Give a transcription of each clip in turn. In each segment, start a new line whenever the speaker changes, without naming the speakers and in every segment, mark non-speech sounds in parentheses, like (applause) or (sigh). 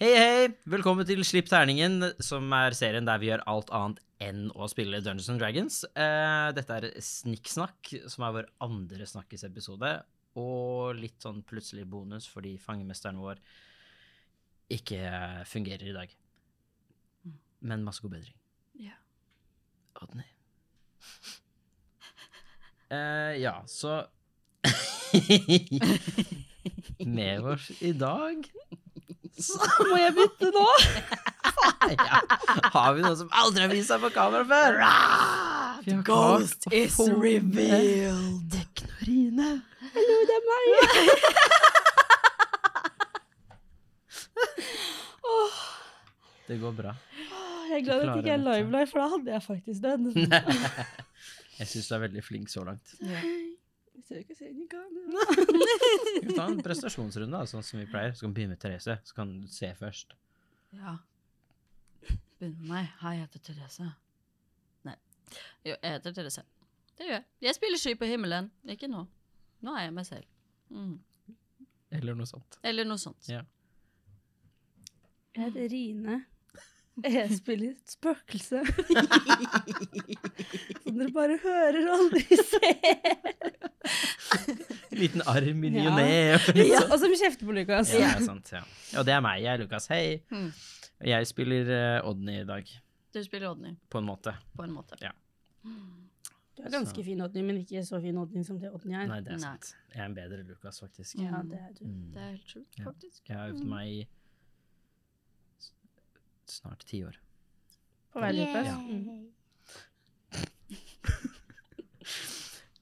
Hei, hei! Velkommen til Slipp terningen, som er serien der vi gjør alt annet enn å spille Dungeons and Dragons. Eh, dette er Snikksnakk, som er vår andre snakkesepisode, og litt sånn plutselig bonus fordi fangemesteren vår ikke fungerer i dag. Men masse god bedring.
Ja.
Odny. (laughs) Eh, ja, så (laughs) Med oss i dag så må jeg bytte
(laughs)
nå! (laughs) ja. Har vi noen som aldri har vist seg på kamera før? Vi har klart
Ghost
å
is
få med
revealed.
Teknorine.
Hallo, det er meg. Åh,
Det går bra.
jeg er glad at
klarer
jeg ikke er
dette.
live live, for da hadde jeg faktisk
(laughs)
den.
Jeg syns du er veldig flink så langt.
Jeg tør ikke se inn i kamera.
Vi kan ta en prestasjonsrunde, da, sånn som vi pleier. Så kan vi begynne med Therese. Så kan du se først.
Ja. Begynn med meg. Hei, jeg heter Therese. Nei. Jo, jeg heter Therese. Det gjør jeg. Jeg spiller Sky på himmelen. Ikke nå. Nå er jeg meg selv. Mm.
Eller noe sånt.
Eller noe sånt.
Ja.
(laughs) Jeg heter Rine. Jeg spiller spøkelse. (laughs) Som dere bare hører og (laughs) aldri ser.
(laughs) En liten arm i ny
Ja.
og ne. (laughs)
Ja, og som kjefter på Lukas.
Ja, det er sant. Ja. Og det er meg. Jeg er Lukas. Hei.
Mm.
Jeg spiller eh, Odny i dag,
Du spiller Odny,
på en måte.
på en måte.
Ja.
Mm.
Du er ganske fin Odny, men ikke så fin Odny som det Odny er.
Nei, det er
Nei.
sant. Jeg er en bedre Lukas, faktisk.
Ja, det er du.
Mm.
Det er helt sjukt,
Ja.
faktisk.
Jeg har øvd
Mm.
meg i s- snart ti år.
På vei, Lukas.
Ja.
Mm.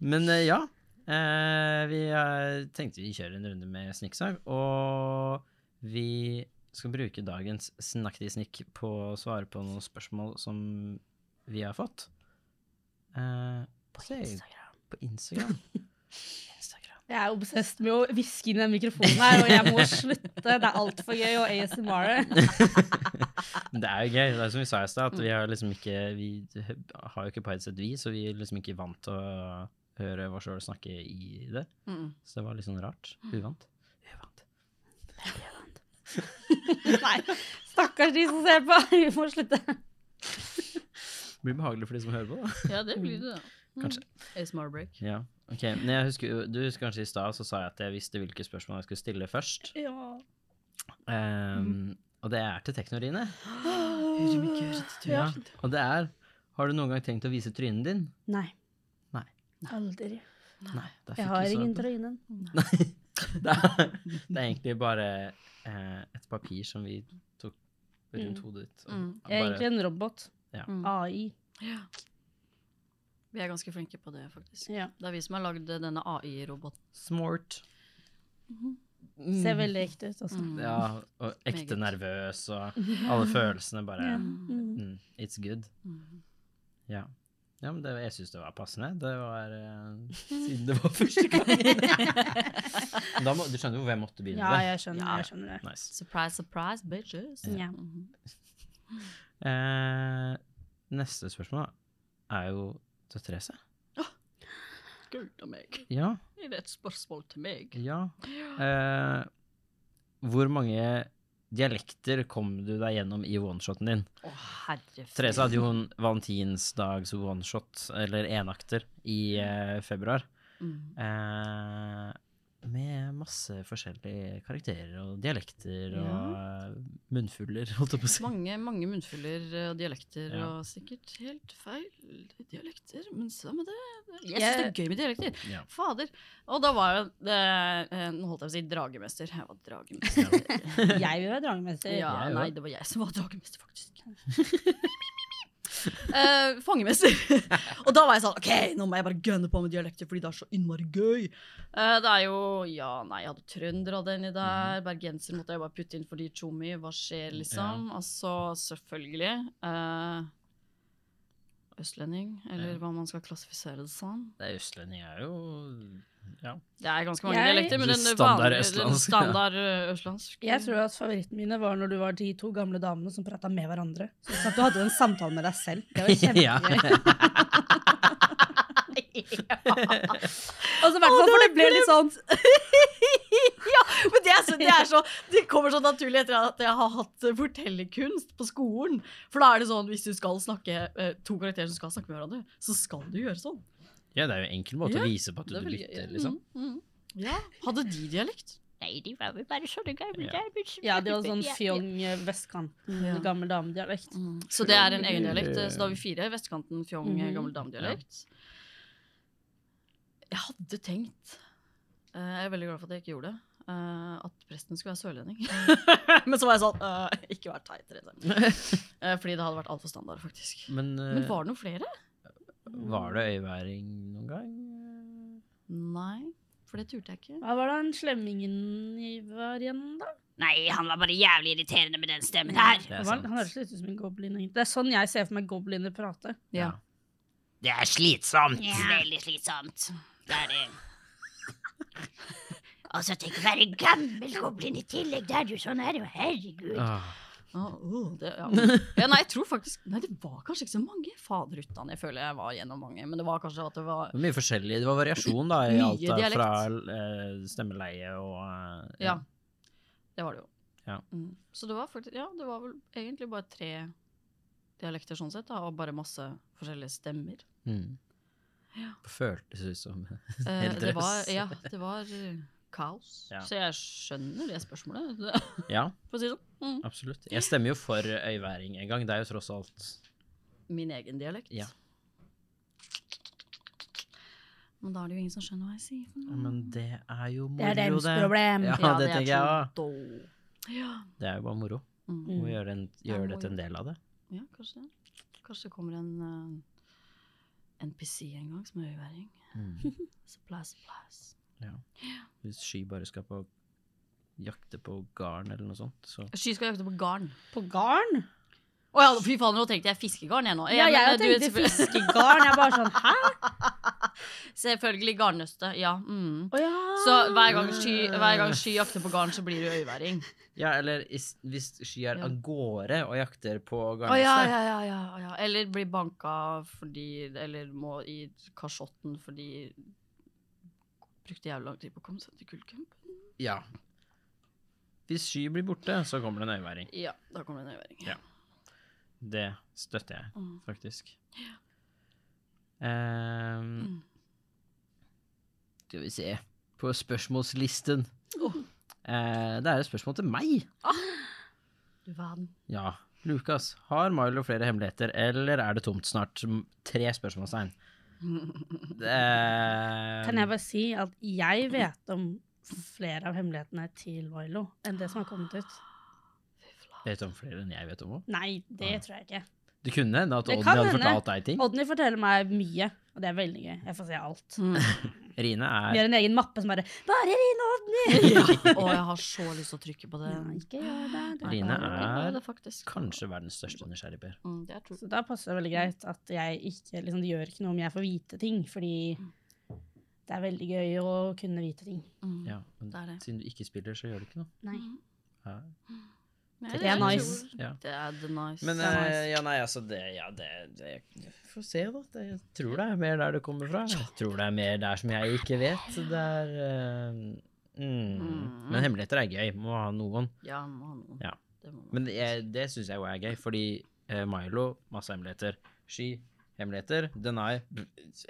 Men eh, ja, eh, vi eh, tenkte vi kjører en runde med snikksag, og vi skal bruke dagens snakktisnikk på å svare på noen spørsmål som vi har fått. Eh, på Instagram. På Instagram. Instagram.
Jeg er obsesst med å hviske inn den mikrofonen her, og jeg må slutte. Det er altfor gøy og
(laughs)
ASMR.
Men det er jo gøy. Det er som vi sa i stad, at vi har liksom ikke Vi har jo ikke på headset, vi, så vi er liksom ikke vant til å høre hva sjøl snakke i det.
Mm.
Så det var litt sånn rart. Uvant. Uvant.
Nei, stakkars de som ser på. Vi må slutte.
Det blir behagelig for de som hører på, da.
Ja, det blir det, da. Mm.
Kanskje.
A small break.
Ja. Ok, men jeg husker, jo- Du husker kanskje i stad så sa jeg at jeg visste hvilke spørsmål jeg skulle stille først.
Ja. Mhm.
Ehm, og det er til Teknorine.
Ja.
Og det er Har du noen gang tenkt å vise trynet din?
Nei.
Nei.
Aldri.
Nei. da fikk
Jeg har
du svar (laughs)
ingen
på det.
tryne.
Det er, det er egentlig bare eh, et papir som vi tok rundt
Mm.
hodet ditt. og
Mm.
Jeg er
bare-
egentlig en robot.
Mm.
AI.
Ja. Vi er ganske flinke på det, faktisk.
Ja.
Det er vi som har lagd denne AI-roboten.
Smart.
Mhm. Ser veldig ekte ut, altså.
Mm.
Mm. Ja, og ekte
Meget.
nervøs, og
(laughs)
alle følelsene bare
Ja.
Mm.
Mm.
mm, It's good.
Mm.
Ja. ja men det, jeg syns det var passende. Det var
(laughs)
eh, Siden det var første gang. da må, du skjønner jo hvor jeg måtte begynne?
Ja,
det.
jeg skjønner,
Ja.
jeg skjønner det.
Nice.
Surprise, surprise, bitches.
Ja.
Mhm.
Eh, neste spørsmål er jo til Therese.
Gud og meg.
Ja,
Er det et spørsmål til meg?
ja. Eh, hvor mange dialekter kom du deg gjennom i oneshoten din?
Å, herre
Therese hadde jo en valentinsdags oneshot, eller enakter, i eh, februar.
Mm.
Eh, med masse forskjellige karakterer og dialekter og eh, munnfuller, holdt jeg på å si.
Mange, mange munnfuller eh, og dialekter,
Ja.
og sikkert helt feil dialekter, men samme det. Jeg syns det
Jeg-
er gøy med dialekter.
Ja.
Fader. Og da var jo det eh, Nå holdt jeg på å si dragemester. Jeg var dragemester.
Jeg vil være dragemester.
ja,
Jeg
nei,
også.
det var jeg som var dragemester, faktisk. (laughs) Eh, fangemester. (laughs) og da var jeg sånn OK, nå må jeg bare gønne på med dialekter, fordi det er så innmari gøy. Eh, det er jo Ja, nei, jeg hadde trønder hadde jeg inni der.
Mhm.
Bergenser måtte jeg bare putte inn fordi tjommi, hva skjer, liksom? Altså, selvfølgelig. eh, østlending, eller
Ja.
hva man skal klassifisere det som.
Det er østlending er jo ja.
Det er ganske mange
Jeg-
dialekter, men
Du
den
standard
vanlige- den
østlandsk, ja.
standard eh, østlandsk.
Jeg tror at favoritten mine var når du var de to gamle damene som prata med hverandre. (laughs) Så at du hadde en samtale med deg selv. Det var
Ja.
kjempegøy. Og så hvert fall, for det ble litt sånn
(laughs) ja, men det er, så, det er så Det kommer så naturlig etter at jeg har hatt eh, fortellerkunst på skolen. For da er det sånn, hvis du skal snakke eh, to karakterer som skal snakke med hverandre, så skal du gjøre sånn.
Ja, det er jo en enkel måte
Ja,
å vise på at du
Det er veldig-
lytter, liksom.
Mm, mm. Ja. Hadde de dialekt?
Nei, de var vel bare sånne gamle
Ja.
Ja, det var sånn fjong eh, vestkanten,
Ja.
gammel damedialekt.
Mm. Så det er en egen dialekt. eh, Så da har vi fire. Vestkanten, fjong, eh,
Mhm.
gammel damedialekt. Jeg hadde tenkt eh, Jeg er veldig glad for at jeg ikke gjorde det. eh, at presten skulle være sørlending. (laughs) Men så var jeg sånn eh, Ikke vær teit, Reidar. Eh, Fordi det hadde vært altfor standard, faktisk.
Men, eh,
Mm. Men var det noen flere?
var det øyværing noen gang? Eh,
Nei, for det turte jeg ikke.
Hva var det han slemmingen i var igjen, da?
Nei, han var bare jævlig irriterende med den stemmen her.
Det er
Hva-
sant.
Han høres litt ut som en goblin. egentlig. Det er sånn jeg ser for meg gobliner prate.
Ja.
Det er slitsomt.
Ja. Veldig slitsomt. Det er det. Og så tenk å være gammel goblin i tillegg. Det er jo sånn her, jo. Herregud.
Ah,
Ah, oh, det, ja. ja, nei, jeg tror faktisk Nei, det var kanskje ikke så mange. Fader utdan, jeg føler jeg var gjennom mange. Men det var kanskje at det var
det var mye forskjellig. Det var variasjon da, i
Mye
alt da,
dialekt.
fra eh, stemmeleie og eh,
Ja. Det var det jo.
Ja.
Mm. Så det var faktisk Ja, det var vel egentlig bare tre dialekter sånn sett, da, og bare masse forskjellige
(laughs)
stemmer.
Mm.
Ja.
Føltes ut som
Eh,
Helt
det var
drøss.
Ja, det var eh, kaos.
Ja.
Så jeg skjønner det spørsmålet, (laughs) det-
Ja,
for å si det sånn. Mm.
absolutt. Jeg stemmer jo for øyværing en gang. Det er jo tross alt
Min egen dialekt.
Ja.
Men da er det jo ingen som skjønner hva jeg sier. for noe.
Ja, Men det er jo moro,
Det er deres problem.
Ja, det tenker jeg òg.
jeg. Ja.
Det er jo bare moro.
Mm.
Må gjøre, en, gjøre det til en del av det.
ja, kanskje det. Kanskje det kommer en eh, NPC en gang som er øyværing.
Mm.
Supply, supplies.
Hvis Sky bare skal på jakte på garn eller noe sånt, så
Sky skal jakte på garn.
På garn?
Å ja, fy faen, nå tenkte jeg fiskegarn jeg nå.
Ja, jeg
men,
har
eh, du,
tenkt
selvfølgelig-
fiskegarn. Jeg er bare sånn hæ?
(laughs) Selvfølgelig garnnøste, ja. Mm.
Å ja.
Så hver gang, sky, hver gang Sky jakter på garn, så blir du øyværing.
Ja, eller is, hvis Sky er
Ja.
av gårde og jakter på
Å ja,
garnnøstet.
ja, ja, ja, ja. Eller blir banka fordi Eller må i kasjotten fordi Brukte jævlig lang tid på å komme seg til kullcamp.
ja. Hvis Sky blir borte, så kommer det en øyværing.
Ja, da kommer det en øyværing.
Ja. Det støtter jeg,
Mm.
faktisk.
Mm.
Ehm, skal vi se på spørsmålslisten.
Oh.
Eh, det er et spørsmål til meg.
Du verden. (laughs)
Ja. Lukas, har Milo flere hemmeligheter, eller er det tomt snart? M- Tre spørsmålstegn. Eh,
Kan jeg
Det,
bare si at jeg vet om flere av hemmelighetene til Milo enn det som har kommet ut?
vet du om flere enn jeg vet om òg?
Nei, det tror jeg ikke.
Du kunne hende at
Det
Odny
kan
hadde
hende.
fortalt deg ting.
Odny forteller meg mye, og det er veldig gøy. Jeg får se alt.
Mm.
Rine
Vi
er
har en egen mappe som bare Bare Rine og Odny!
Ja. Å, jeg har så lyst til å trykke på det.
Ja, ikke gjør det. det.
Rine
kan du
er-
ikke.
Ja, det er faktisk.
kanskje verdens største nysgjerrigper.
Mm, det er true.
Så da passer det veldig greit at jeg ikke liksom, Det gjør ikke noe om jeg får vite ting, fordi det er veldig gøy å kunne vite ting.
Mm.
Ja, men
Det er det.
siden du ikke spiller, så gjør det ikke noe.
Nei.
Ja.
Nei,
Det er nice.
true.
Ja.
Det er the nice.
Men
Det
eh,
er nice.
ja, nei, altså det, ja, det, det jeg Får se, da. Det, jeg tror det er mer der det kommer fra. Jeg tror det er mer der som jeg ikke vet. så Det er eh, mm.
Mm.
Men hemmeligheter er gøy. Må ha noen.
Ja, må ha noen.
Ja.
Det må man.
Men jeg, det syns jeg jo er gøy, fordi eh, Milo, masse hemmeligheter. Sky, hemmeligheter. Denai,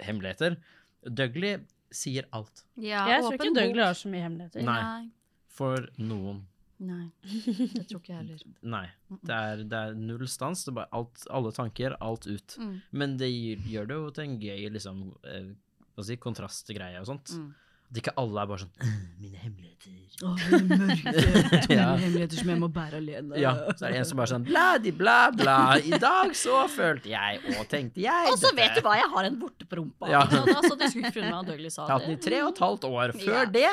hemmeligheter. Dougley sier alt.
Ja,
jeg tror
åpen
ikke Dougley
bok.
har så mye hemmeligheter.
Nei.
Nei.
For noen.
Nei. Det tror ikke jeg heller.
Nei. Det er, det er null stans. Det er bare alt, alle tanker, alt ut.
Mm.
Men det gir- gjør det jo til en gøy liksom, eh, hva skal jeg si, kontrast til greia og sånt.
Mm.
At ikke alle er bare sånn «Øh, Mine hemmeligheter.
(laughs) Å, mine mørke, tunge
Ja.
hemmeligheter som jeg må bære alene.
(laughs) Ja, så er det en som bare sånn bla, di, bla, bla. I dag så følte jeg og tenkte jeg
Og så vet
dette.
du hva, jeg har en vorte på rumpa.
Ja.
Så da satt jeg og skulle ikke meg, og Dougley sa
Jeg har hatt den i
det.
tre og et halvt år. Før
Ja.
det,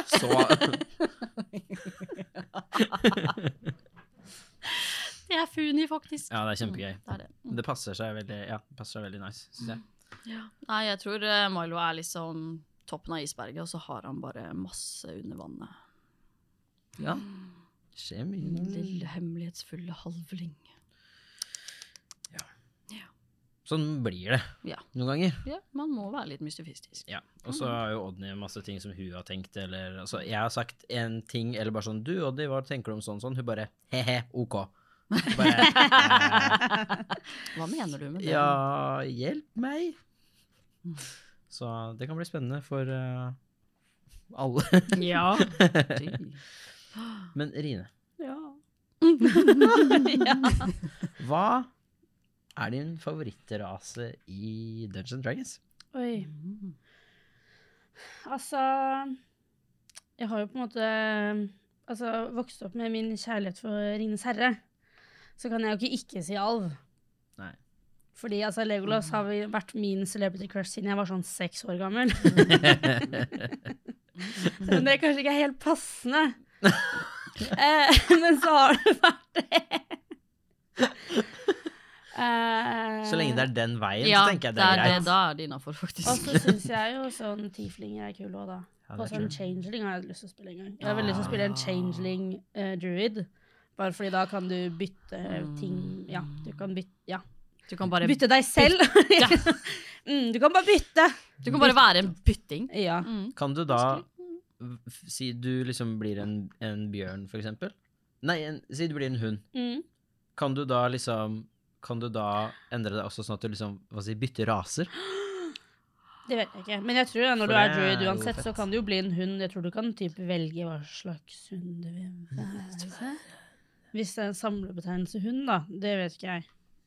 (laughs) så
Det er Funi, faktisk.
Ja, det er kjempegøy.
Mm, det er det. Mm.
Det passer seg veldig, ja, det passer seg veldig nice, syns jeg.
Ja. Nei, jeg tror eh, Milo er liksom toppen av isberget, og så har han bare masse under vannet.
Ja. Det skjer
Mm.
Mm.
mye.
Min
når du-
lille hemmelighetsfulle halvling.
Sånn blir det
Ja.
noen ganger.
Ja, man må være litt mystifistisk.
Ja. Og så
Mhm.
har jo Odny masse ting som hun har tenkt, eller altså, Jeg har sagt en ting, eller bare sånn Du, Odny, hva tenker du om sånn sånn? Hun bare he-he, OK. Bare, eh,
Hva mener du med det? (laughs)
ja, hjelp meg. Så det kan bli spennende for eh, alle. (laughs)
Ja.
Men Rine,
ja.
hva er din favorittrase i Dungeons and Dragons? (laughs)
Oi. Altså Jeg har jo på en måte altså, vokst opp med min kjærlighet for Ringenes herre. Så kan jeg jo ikke ikke si alv.
Nei.
Fordi altså, Legolas har vel vært min celebrity crush siden jeg var sånn seks år gammel.
(laughs)
Selv om det kanskje ikke er helt passende. eh, (laughs) men så har det vært det. eh,
Så lenge det er den veien,
ja,
så tenker jeg det er greit.
da er det innafor,
Og
faktisk.
så syns jeg jo sånn tieflinger er kule òg, da.
Ja,
Og
det er Ah.
sånn
true.
changeling har jeg lyst til å spille en gang. Jeg har veldig lyst til å spille en
Ja.
changeling eh, druid. Bare fordi da kan du bytte ting Ja, du kan bytte Ja.
Du kan bare,
Bytte deg selv! (laughs) mm, du kan bare bytte!
du kan bare være en bytting.
Ja.
Mm.
Kan du da f- si du liksom blir en, en bjørn, for eksempel? Nei, en, si du blir en hund.
Mm.
Kan du da liksom Kan du da endre deg også sånn at du liksom hva skal jeg si, bytter raser?
Det vet jeg ikke. Men jeg tror da, når
For
du er
det er
druid
jo
uansett, så
fett.
kan du jo bli en hund. Jeg tror du kan typ velge hva slags hund du vil
Mm.
være. Hvis det er en samlebetegnelse hund, da. Det vet ikke jeg.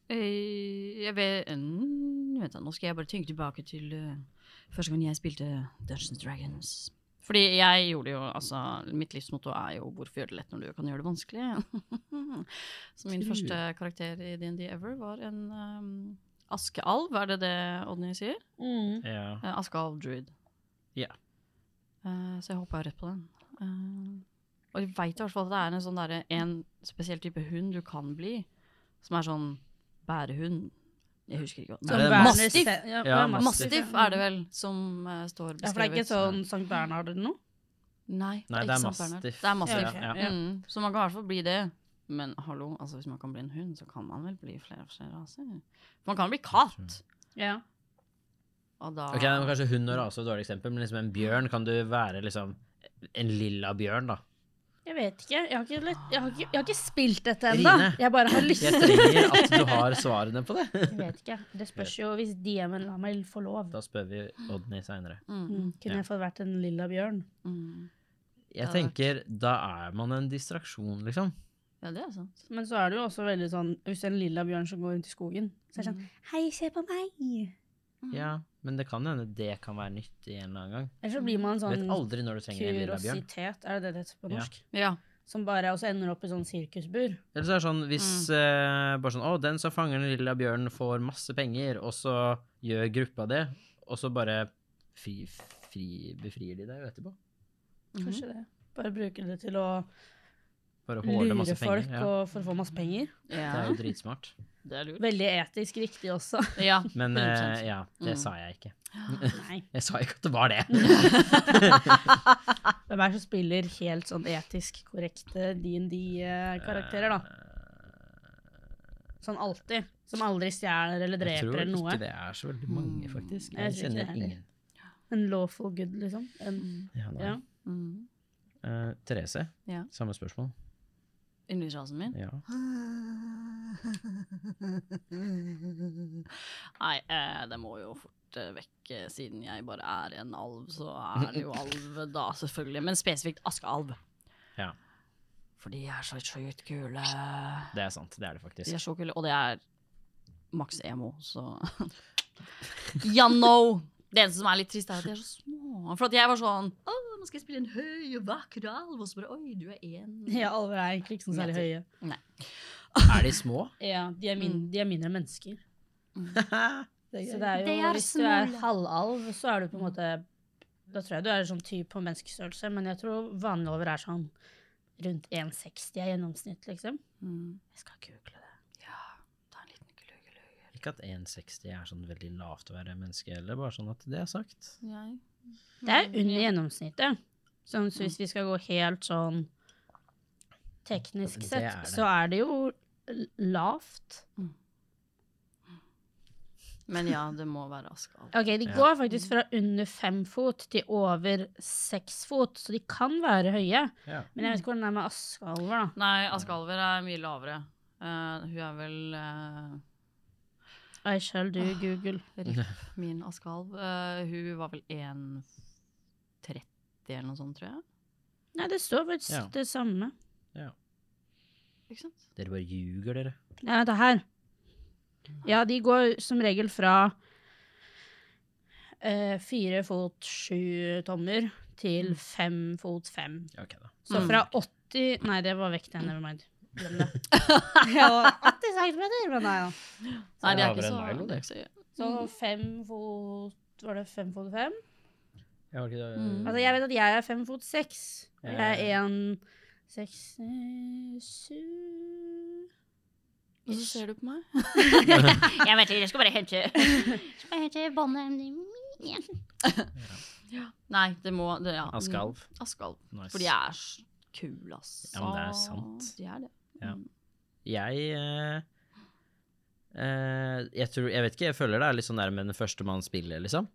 Eh, Jeg vet, mm, vent da, nå skal jeg bare tenke tilbake til eh, første gang jeg spilte Dungeons and Dragons. Fordi jeg gjorde jo, altså, mitt livsmotto er jo 'hvorfor gjøre det lett når du kan gjøre det vanskelig'? (laughs) Så min
True.
første karakter i D&D ever var en ehm, askealv, er det det Odny sier?
Ja.
Eh, Askealv druid.
Ja.
Eh, så jeg hoppa rett på den. Eh, og jeg veit i hvert fall at det er en sånn derre en spesiell type hund du kan bli, som er sånn bærehund. Jeg husker ikke hva
Er
Sånn
det
Nei,
Berners-
Mastiff!
Ja,
Ja,
mastiff,
Mastiff
ja.
er det vel som eh, står beskrevet.
Ja, for det er ikke sånn Sankt Bernhard eller noe?
Nei, det
Nei,
er,
det
ikke
er
sant, Bernhard.
mastiff.
Det er mastiff.
Ja, ok, ja.
Mm, så man kan i hvert fall bli det. Men hallo, altså hvis man kan bli en hund, så kan man vel bli flere flere raser? Man kan bli katt!
Ja.
Og da
Ok, det var Kanskje hund og rase var et dårlig eksempel, men liksom en bjørn kan du være liksom en lilla bjørn, da.
Jeg vet ikke. Jeg har ikke, lett, jeg har ikke, jeg har ikke spilt dette
Rine.
ennå. Jeg bare har lyst
Jeg
til
trenger at du har svarene på det.
Jeg vet ikke. Det spørs jo hvis DM-en lar meg få lov.
Da spør vi Odny seinere.
Mm,
Mm, kunne
Ja.
jeg fått vært en lilla bjørn?
mm.
Jeg
Det hadde
tenker, da er man en distraksjon, liksom.
Ja, det er sant.
Men så er det jo også veldig sånn Hvis det er en lilla bjørn som går rundt i skogen, så er det sånn Hei, se på meg!
Mm.
Ja, men det kan hende det kan være nyttig en eller annen gang.
Eller så blir man
Du vet
sånn
aldri når du trenger en lilla bjørn.
kuriositet, er det det det heter på
Ja.
norsk?
Ja.
Som bare også ender opp i sånn sirkusbur.
Eller så er det sånn hvis
Mm.
eh, bare sånn, å, den som fanger den lilla bjørnen får masse penger, og så gjør gruppa det, og så bare fri, fri, befrir de deg jo etterpå.
Mhm.
Kanskje det. Bare bruker det til å
Bare håler
lure
masse
folk
penger. Ja.
og for å få masse penger.
Det
Ja.
er jo dritsmart.
Det er lurt.
Veldig etisk riktig
(laughs)
også.
Ja.
Men eh,
100%.
ja, det
Mm.
sa jeg ikke.
Nei.
Jeg sa ikke at det
(laughs)
var det.
Hvem er det som spiller helt sånn etisk korrekte DND-karakterer, eh, da? Sånn alltid. Som aldri stjeler eller
Eh, Jeg
dreper
tror
eller noe. Mm.
ikke det er så veldig mange, faktisk.
Jeg
Jeg
tror ikke det
kjenner
heller.
ingen.
En lawful good, liksom. En, (laughs)
Ja, nei.
ja.
Mm.
Eh, Therese,
Ja.
samme spørsmål.
Yndlingsrasen min?
Ja.
Nei, eh, det må jo fort eh, vekk. eh, Siden jeg bare er en alv, så er
(laughs)
det jo alv da, selvfølgelig. Men spesifikt askealv.
Ja.
For de er så sjukt kule.
Det er sant, det er det faktisk.
De er så kule, og det er maks emo,
(laughs)
så Ja, no! Det eneste som er litt trist, er at de er så små. For at jeg var sånn Å, nå skal jeg spille en høy og vakker alv, og så bare Oi, du er én
ja, alver er egentlig ikke sånn særlig høye. Mm.
Er de
(laughs)
små?
Ja, de er, min, de er mindre mennesker. Så det er jo,
De er
hvis du er
smule.
halvalv, så er du på en måte Da tror jeg du er sånn type på menneskestørrelse, men jeg tror vanlige alver er sånn rundt 1,60 i gjennomsnitt, liksom.
Mm.
Jeg skal google det.
Ja, det er en liten gluggelugge.
Ikke at 1,60 er sånn veldig lavt å være menneske heller, bare sånn at det er sagt.
Nei.
Det er under gjennomsnittet. Sånn, så
Mm.
hvis vi skal gå helt sånn teknisk
Det
sett,
er det.
så er det jo l- lavt.
Mm. Men ja, det må være Askal.
Ok, De
Ja.
går faktisk fra under fem fot til over seks fot, så de kan være høye.
Ja.
Men jeg vet ikke hvordan det er med askealver, da.
Nei, Askalver er mye lavere. Eh, hun er vel eh,
I shall do Google.
Ripp, min askealv. Eh, hun var vel 1,30 eller noe sånt, tror jeg.
Nei, det står faktisk
Ja.
det samme.
Ikke sant?
Dere bare ljuger, dere.
Nei, vent da, her. Ja, de går som regel fra eh, fire fot sju tommer
Mm.
til fem fot fem.
Ja, Ok, da.
Så
Mm.
fra 80 Nei, det var vekta. Never mind.
(laughs)
Glem det. Ja, 80 centimeter, men nei da.
Nei, det er
Lavere
ikke
enn
så,
Milo,
det er
det.
ikke så
Så
Mm.
fem fot Var det fem fot fem?
Jeg har ikke det.
Mm.
Altså, jeg vet at jeg er fem fot seks. og Jeg
Ja,
er en seks eh, sju
Og så ser du på meg.
Jeg vet ikke, jeg skal bare hente (laughs) Skal bare hente båndet igjen.
Nei, det må det, ja.
Askealv.
Mm, Askealv.
Nice.
For de er s- kule, ass.
Ja, men det er sant.
De er det.
Ja.
Mm.
Jeg eh, eh, jeg, tror, jeg vet ikke, jeg føler det er litt sånn der med den første man spiller, liksom.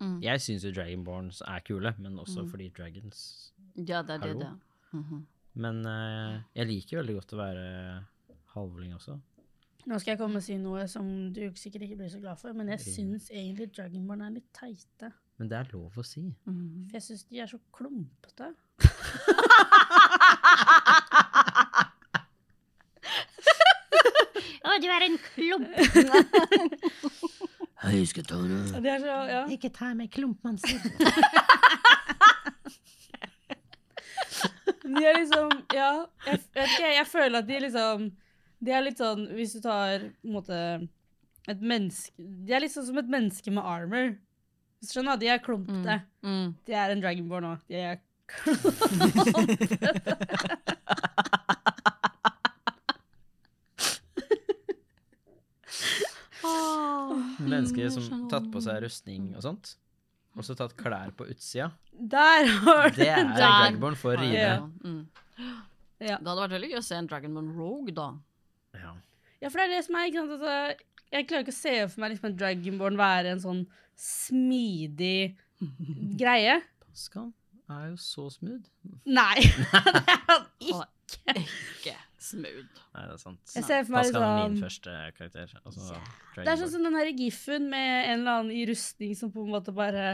Mm.
Jeg syns jo Dragonborns er kule, men også
Mm.
fordi Dragons
Ja, det er det.
Hallo?
det. Mhm.
Men eh, jeg liker veldig godt å være halvling også.
Nå skal jeg komme og si noe som du sikkert ikke blir så glad for, men jeg
Ring.
syns egentlig Dragonborn er litt teite.
Men det er lov å si.
Mhm.
For jeg syns de er så klumpete.
Å, du er en klump.
Hei, Skatone.
De er så, ja.
Ikke ta meg klumpmannsen.
De er liksom Ja, jeg, jeg vet ikke, jeg føler at de liksom De er litt sånn Hvis du tar på en måte et menneske De er litt sånn som et menneske med armor. Hvis du Skjønner du? De er klumpete.
Mm.
De er en dragonborn òg. De er Mm,
Mennesker som tatt på seg rustning og sånt. Og så tatt klær på utsida.
Der (laughs) har du
Det er
Der.
Dragonborn for å rive.
Ja.
Ja. Mm. Det
Ja.
hadde vært veldig gøy å se en Dragonborn Rogue, da.
Ja.
Ja, for det er det som er ikke sant, altså, Jeg klarer ikke å se for meg liksom, en dragonborn være en sånn smidig greie.
Pascal er jo så smooth.
Nei. (laughs) det er han ikke.
Ikke smooth.
Nei, det er sant.
Jeg ser for meg
Pascal er min
liksom
første karakter. Altså,
Det er sånn
Dragonborn.
som den her giffen med en eller annen i rustning som på en måte bare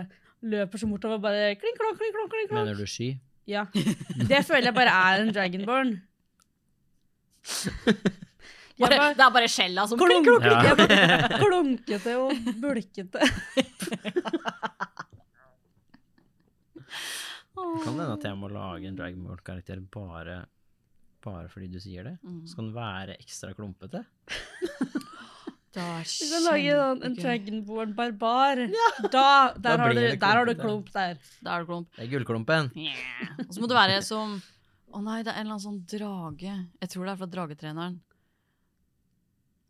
løper så bortover og bare kling, klong, kling, klong, kling, klong.
Mener du sky?
Ja. Det føler jeg bare er en
(laughs)
dragonborn. De er
Bare,
bare
det er bare skjella som
klunk, klunk, klunk.
Ja.
De er bare klunkete og bulkete.
Kan det hende at jeg må lage en Dragonborn-karakter bare, bare fordi du sier det?
Mm.
Så kan den være ekstra klumpete?
Du skal lage en, en dragonborn barbar. Da,
Da
der, har
blir
du,
det
der har du
klumpete.
klump der.
Det er det klump.
Det er gullklumpen!
Og så må du være som Å nei, det er en eller annen sånn drage. Jeg tror det er fra dragetreneren.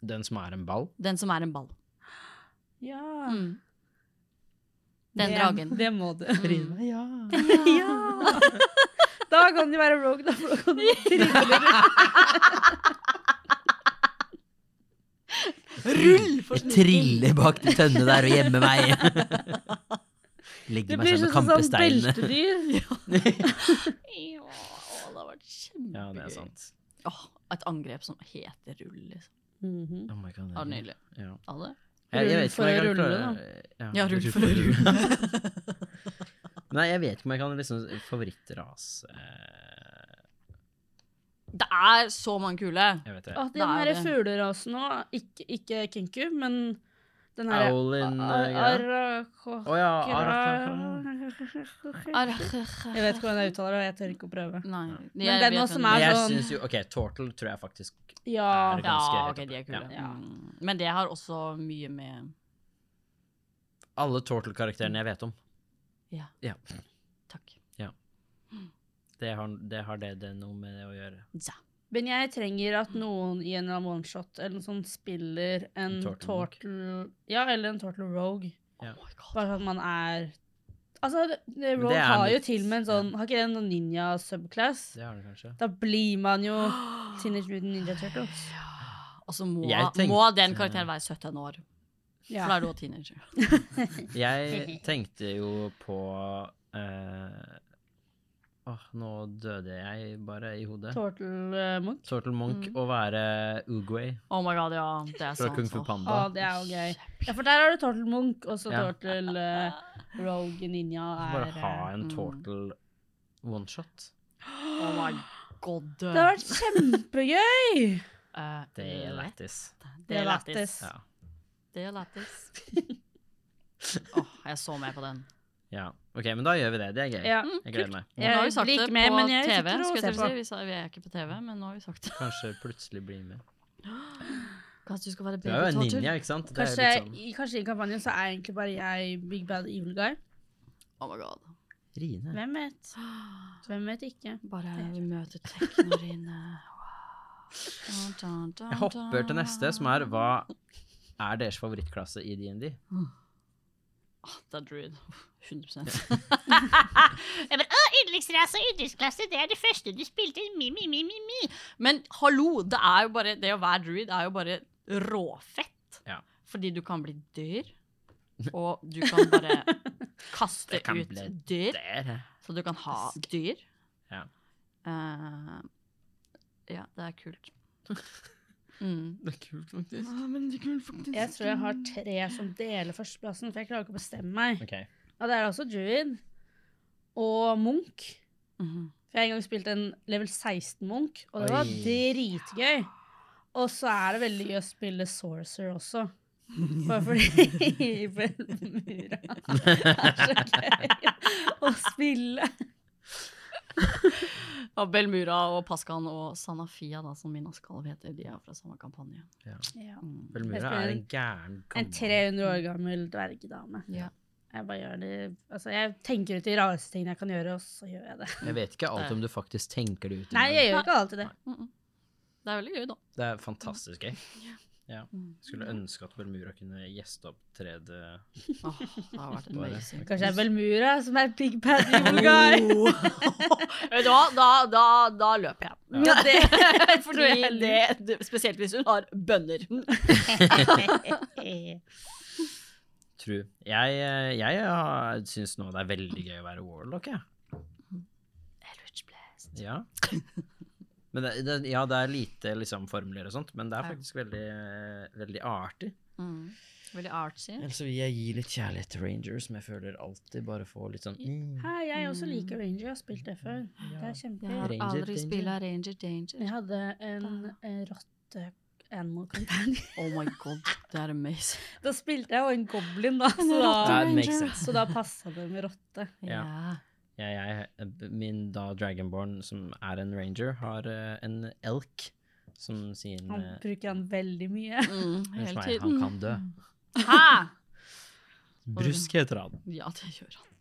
Den som er en ball.
Den som er en ball.
Ja.
Mm. Den
det,
dragen.
Det må du.
Mm.
Ja.
(laughs) Ja. Da kan de være rogue, da, for da kan de trille rundt.
Rull!
Jeg triller bak de tønnene der og gjemmer
(laughs)
meg.
Det
Legger meg
blir
sånn og
sånn som
kamper steinene.
(laughs)
beltedyr.
Ja, å, det har vært kjempegøy.
ja, det er sant.
Åh, et angrep som heter rull, liksom.
Mhm.
Oh my God,
Det var nydelig.
Ja.
Ha det.
Jeg, jeg
Rull
vet ikke
for
om jeg
å
kan
rulle,
klare
Ja, rull for å
(laughs) Nei, jeg vet ikke om jeg kan liksom favorittrase eh,
Det er så mange kule.
Jeg vet det.
At den her
Det er det.
fuglerasen òg, ikke, ikke kenku, men den her
Aulin eh,
Ar-
Å
Arako-
ja, Arakakra.
Kra-
Ar-
Jeg vet ikke hvordan jeg uttaler det, og jeg tør ikke å prøve.
Nei.
Men den også som
Men
er
jeg
sånn-
syns jo OK, Tortle tror jeg faktisk
Ja.
Er det-
Ja,
ganske høyt
ok, de er
oppe.
kule.
Ja.
Mm. Men det har også mye med
Alle Tortle-karakterene jeg vet om.
Ja.
Ja.
Takk.
Det har det, har det, det noe med det å gjøre.
Ja.
Men jeg trenger at noen i en eller annen oneshot eller noe sånt spiller en
En
Tortle,
Turtle Monk.
Ja, eller en Tortle Rogue.
Ja.
Oh my god.
Bare sånn at man er Altså, det- det-
Men
Rogue
det er
har jo
litt-
til og med en sånn Har ikke den noen ninja subclass?
Det har det kanskje.
Da blir man jo
(gasps)
Teenage Mutant Ninja Turtles.
Og så må,
Jeg tenkte-
må den karakteren være 17 år.
Ja.
For da er du også teenager.
(laughs)
Jeg tenkte jo på eh, Åh, nå døde jeg bare i hodet.
Turtle eh, Monk.
Turtle Monk å være Oogway
Oh my god, ja. Det er
fra
sant. altså.
Kung Fu
Åh.
Å,
Panda.
det er jo gøy. Ja, for der har du Turtle Monk, og så
Ja.
Turtle eh, Rogue Ninja er
Bare ha
eh,
en
mm.
turtle one-shot.
Oh my god.
(gasps) Det har vært kjempegøy!
Eh,
Det er
lett.
lættis.
Det er lættis.
Ja.
Det er lættis.
(laughs)
Åh, jeg er så med på den.
ja. OK, men da gjør vi det. Det er gøy.
Ja.
Jeg gleder meg.
Nå har vi sagt
blir
det
ikke
på
med, men jeg
TV.
sitter og
Skal jeg
ser
til
på.
å si. Vi, sa, vi er ikke på TV, men nå har vi sagt det.
Kanskje plutselig bli med.
Kanskje du skal være
Du er jo en
babytortur?
ninja, ikke sant? Det er
Kanskje,
litt sånn
i, kanskje i kampanjen så er egentlig bare jeg Big Bad Evil Guy.
Oh my god.
Rine.
Hvem vet? Hvem vet ikke?
Bare vi møter teknorine.
Jeg hopper til neste, som er hva er deres favorittklasse i DND?
Ah, Det er druid. 100
Jeg bare, «Å, Yndlingsrase og yndlingsklasse, det er det første du spilte. Mi, mi, mi, mi, mi.
Men hallo, det er jo bare Det å være druid er jo bare råfett.
Ja.
Fordi du kan bli dyr, og du kan
(laughs)
bare kaste
Det kan
ut
bli
dyr.
Der.
Så du kan ha dyr.
Ja.
Eh, ja, det er
(laughs)
kult. Mm.
Det er kult, faktisk.
Jeg tror jeg har tre som deler førsteplassen, for jeg klarer ikke å bestemme meg.
OK.
Ja, det er også Druid og Munch.
Mhm.
For jeg har en gang spilt en level 16-Munch, og det
Oi.
var dritgøy. Og så er det veldig gøy å spille Sorcerer også. Bare fordi
(laughs)
Mura er så gøy å spille.
Og Belmura og Paskan og Sanafia, da, som mine skalv heter, de er fra samme kampanje. Mm.
Belmura er en gæren
En
gammel
300 år gammel dvergedame.
Ja.
Jeg bare gjør det Altså, jeg tenker ut de rareste tingene jeg kan gjøre, og så gjør jeg det.
Jeg vet ikke alt om du faktisk tenker det ut.
Nei,
men
jeg gjør ikke alltid det.
Mm-mm. Det er veldig gøy, da.
Det er fantastisk gøy. Ja. (laughs)
Mm.
Skulle ønske at Belmura kunne gjesteopptrede
Åh, det har vært
Bare-
amazing.
Kanskje det er Belmura som er Big Bad Evil Guy.
(laughs) Vet du hva, da, da, da løper jeg.
Ja.
(laughs) Det,
tror jeg
fordi det, det, spesielt hvis hun har bønner.
True. Jeg, eh, jeg har- syns nå det er veldig gøy å være warlock, jeg. (laughs) Ja. Men det, det, ja, det er lite liksom, formler og sånt, men det er
Ja.
faktisk veldig, eh, veldig artig.
Mm. Veldig artsy.
Ellers vil jeg gi litt kjærlighet til Ranger, som jeg føler alltid bare får litt sånn mm.
Hei, jeg også liker Ranger. Jeg har spilt det før. Det er
Jeg
kjempegøy.
har
Ranger
aldri
Danger.
spilla Ranger Danger.
Jeg hadde en
Ah.
eh, rotte animal companion. (laughs)
Oh my god, det er amazing.
Da spilte jeg jo en goblin, da, så
Ja,
da,
it makes sense.
så da passa det med rotte.
Ja. Ja, jeg, eh, min da Dragonborn, som er en ranger, har eh, en elk som sier
Han
eh,
bruker han veldig mye.
Mm,
«Unnskyld
hele
meg, Han
tiden. Mm.
kan dø.
Hæ?
Brusk heter han.
Ja, det gjør han.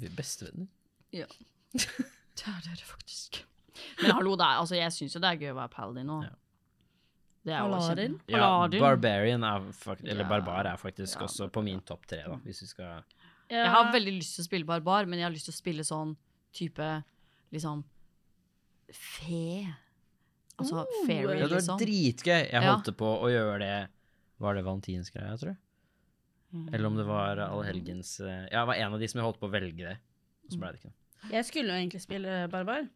Vi er bestevenner.
Det er dere faktisk. Men hallo, det er, altså, jeg syns jo det er gøy å være paladin nå.
Ja.
Det er jo
Paladin?
kjempe-
Ja,
Paladin.
Barbarian er fakt eller
Ja.
Barbar er faktisk
Ja,
også på min topp tre, da, hvis vi skal
(laughs) Ja.
Jeg har veldig lyst til å spille barbar, men jeg har lyst til å spille sånn type liksom fe. Altså
Oh.
fairy,
Ja, det var
liksom.
dritgøy! Jeg
Ja.
holdt på å gjøre det Var det valentinsgreia, tror jeg?
Mm.
Eller om det var Allhelgens eh, Ja, det var en av de som jeg holdt på å velge det. Og så ble det ikke det.
Jeg skulle jo egentlig spille barbar.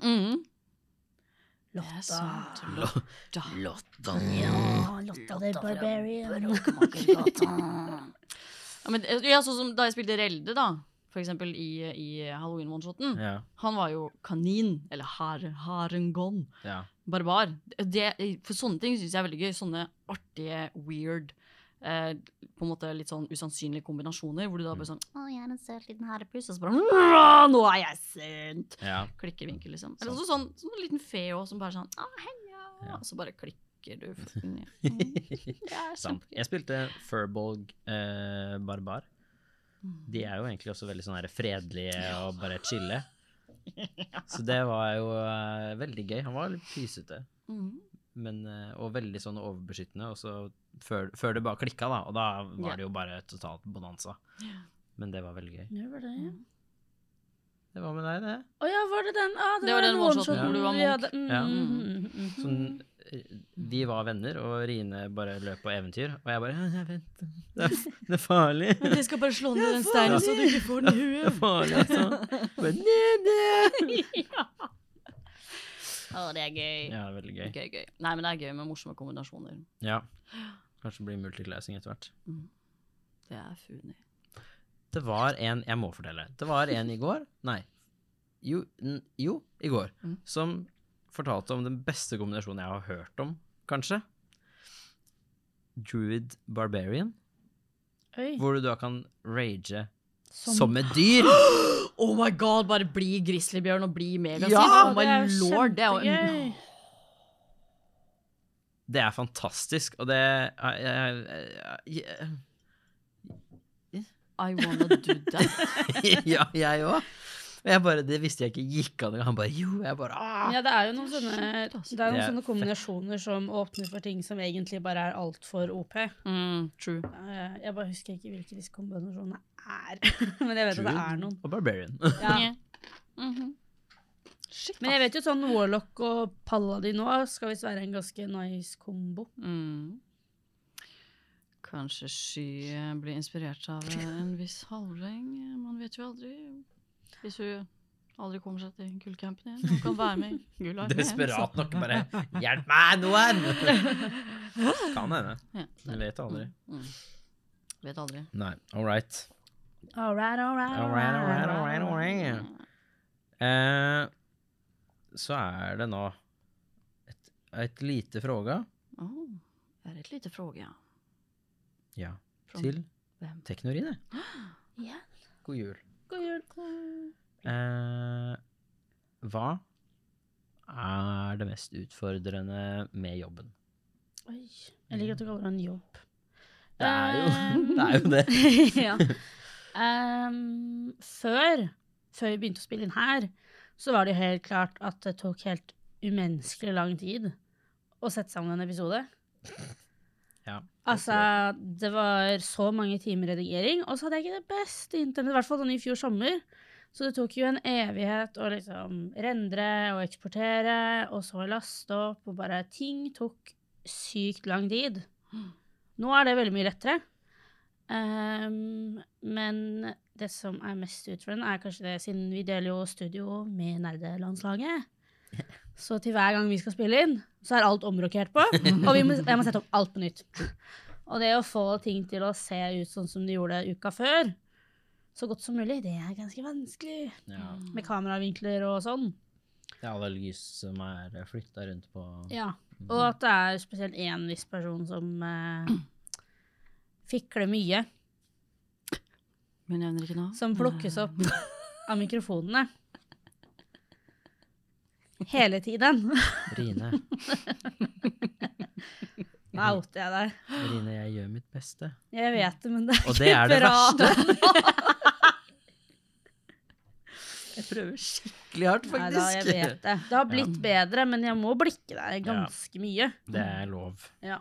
Mhm. Det er
Lotta.
sant. Lotta.
Lotta.
Ja,
Mm.
Lotta the Barbarian.
Ja, men, det- ja, sånn som da jeg spilte Relde, da. For eksempel i, i Halloween one-shoten.
Ja,
Han var jo kanin, eller hare, harengon,
ja.
barbar. Det, for sånne ting syns jeg er veldig gøy. Sånne artige, weird, eh, på en måte litt sånn usannsynlige kombinasjoner. Hvor
Mm.
du da bare sånn
Å, jeg er en søt liten harepus.
Så bare «Mrrr, Nå er jeg sint!
ja.
(laughs) Klikkevinkel, liksom. Eller også sånn, sånn en liten fe også, som bare sånn Å, heia!
Ja.
Og så bare klikker du. foten ned. Mm. Det er
Sant.
kjempegøy.
Jeg spilte Furbolg eh, Barbar.
Mm.
De er jo egentlig også veldig sånn her fredelige og bare chille. Så det var jo eh, veldig gøy. Han var litt pysete,
Mm.
men, eh, og veldig sånn overbeskyttende. Og så før, før det bare klikka, da. Og da var det jo bare totalt bonanza. Men det var veldig gøy.
Det var det, ja.
Det var med deg, det.
Å ja, var det den? Ah, det,
Det var
var
den
den
one-shoten
one-shoten
hvor du var
vi
Munch.
hadde. Mm,
Ja.
mm, mm, mm.
Sånn, eh, de var venner, og Rine bare løp på eventyr. Og jeg bare «Ja, jeg vet, det, er, det er farlig.
Men jeg skal bare slå ned den steinen så du ikke får den i
Det er
huet.
farlig, altså. Bare, «Nei, nei».
Å, det er gøy.
Ja, det er veldig gøy.
Gøy, gøy. Nei, men det er gøy med morsomme kombinasjoner.
Ja. Kanskje det blir multiclassing etter hvert.
Det er funny.
Det var en Jeg må fortelle. Det var en i går Nei. Jo, n jo i går.
Mm.
Som fortalte om den beste kombinasjonen jeg har hørt om, kanskje. Druid Barbarian.
Oi.
Hvor du da kan rage
Som-
som, et dyr.
(gasps) Oh my god, bare bli grizzlybjørn og bli megasint.
Ja,
oh my
det er
lord, det er jo
kjempegøy.
Det er fantastisk, og det jeg, jeg, jeg, jeg,
I wanna do that.
Ja, jeg (laughs) òg. Og jeg bare, det visste jeg ikke gikk an. Og han bare jo. Jeg bare ah.
Ja, det er jo noen sånne,
Sjukt, altså.
det er
Det
noen
er
sånne kombinasjoner som åpner for ting som egentlig bare er altfor OP. Eh,
(laughs) Mm, true.
Jeg bare husker ikke hvilke disse kombinasjonene er, (laughs) men jeg vet at det er noen.
Og Barbarian.
Ja.
Ja. Mhm.
Shit,
Men jeg vet jo sånn Warlock og Paladin nå skal visst være en ganske nice kombo.
Mm. Kanskje Sky eh, blir inspirert av eh, en viss halvring. eh, Man vet jo aldri. Hvis hun aldri kommer seg til gullcampen igjen. Hun kan være med i Gullarmeen.
(laughs) Desperat nok
(laughs)
bare Hjelp meg, noen!
(laughs)
Kan hende.
Ja,
Du vet aldri.
Mm. Vet aldri.
Nei. All right.
All right, all right,
All right, all right, all right, all right. Eh, så er det nå et, et lite fråga
Oh, det er et lite fråge, ja.
ja,
Från
til
hvem?
(gasps)
Teknorine.
Ja.
God jul.
God jul. god-
Eh, hva er det mest utfordrende med jobben?
Oi. Jeg liker at du kaller det en jobb.
Det er jo
Ehm,
(laughs) det. Er jo det.
(laughs) ja. Ehm, før, før vi begynte å spille inn her, så var det jo helt klart at det tok helt umenneskelig lang tid å sette sammen en episode.
Ja,
Altså, det var så mange timer redigering, og så hadde jeg ikke det beste internett, i hvert fall sånn i fjor sommer. Så det tok jo en evighet å liksom rendre og eksportere, og så laste opp, og bare ting tok sykt lang tid. Nå er det veldig mye lettere. Ehm, men det som er mest utfordrende, er kanskje det siden vi deler jo studio med nerdelandslaget. Så til hver gang vi skal spille inn, så er alt omrokert på. Og vi må, jeg må sette opp alt på nytt. Og det å få ting til å se ut sånn som de gjorde uka før, så godt som mulig, det er ganske vanskelig.
Ja,
Mm.
Med kameravinkler og sånn.
det er alle lys som er flytta rundt på Mm.
Ja, og at det er spesielt én viss person som eh, fikler mye.
Men jeg nevner ikke navn.
som plukkes opp
Mm.
av mikrofonene. Hele tiden.
Rine.
Nå
Mhm.
outer jeg deg.
Rine, jeg gjør mitt beste.
Jeg vet det, men det er
Og det er det
bra.
verste. Jeg prøver skikkelig hardt,
Nei da, jeg vet det. Det har blitt bedre, men jeg må blikke deg ganske mye.
Det er lov.
Ja.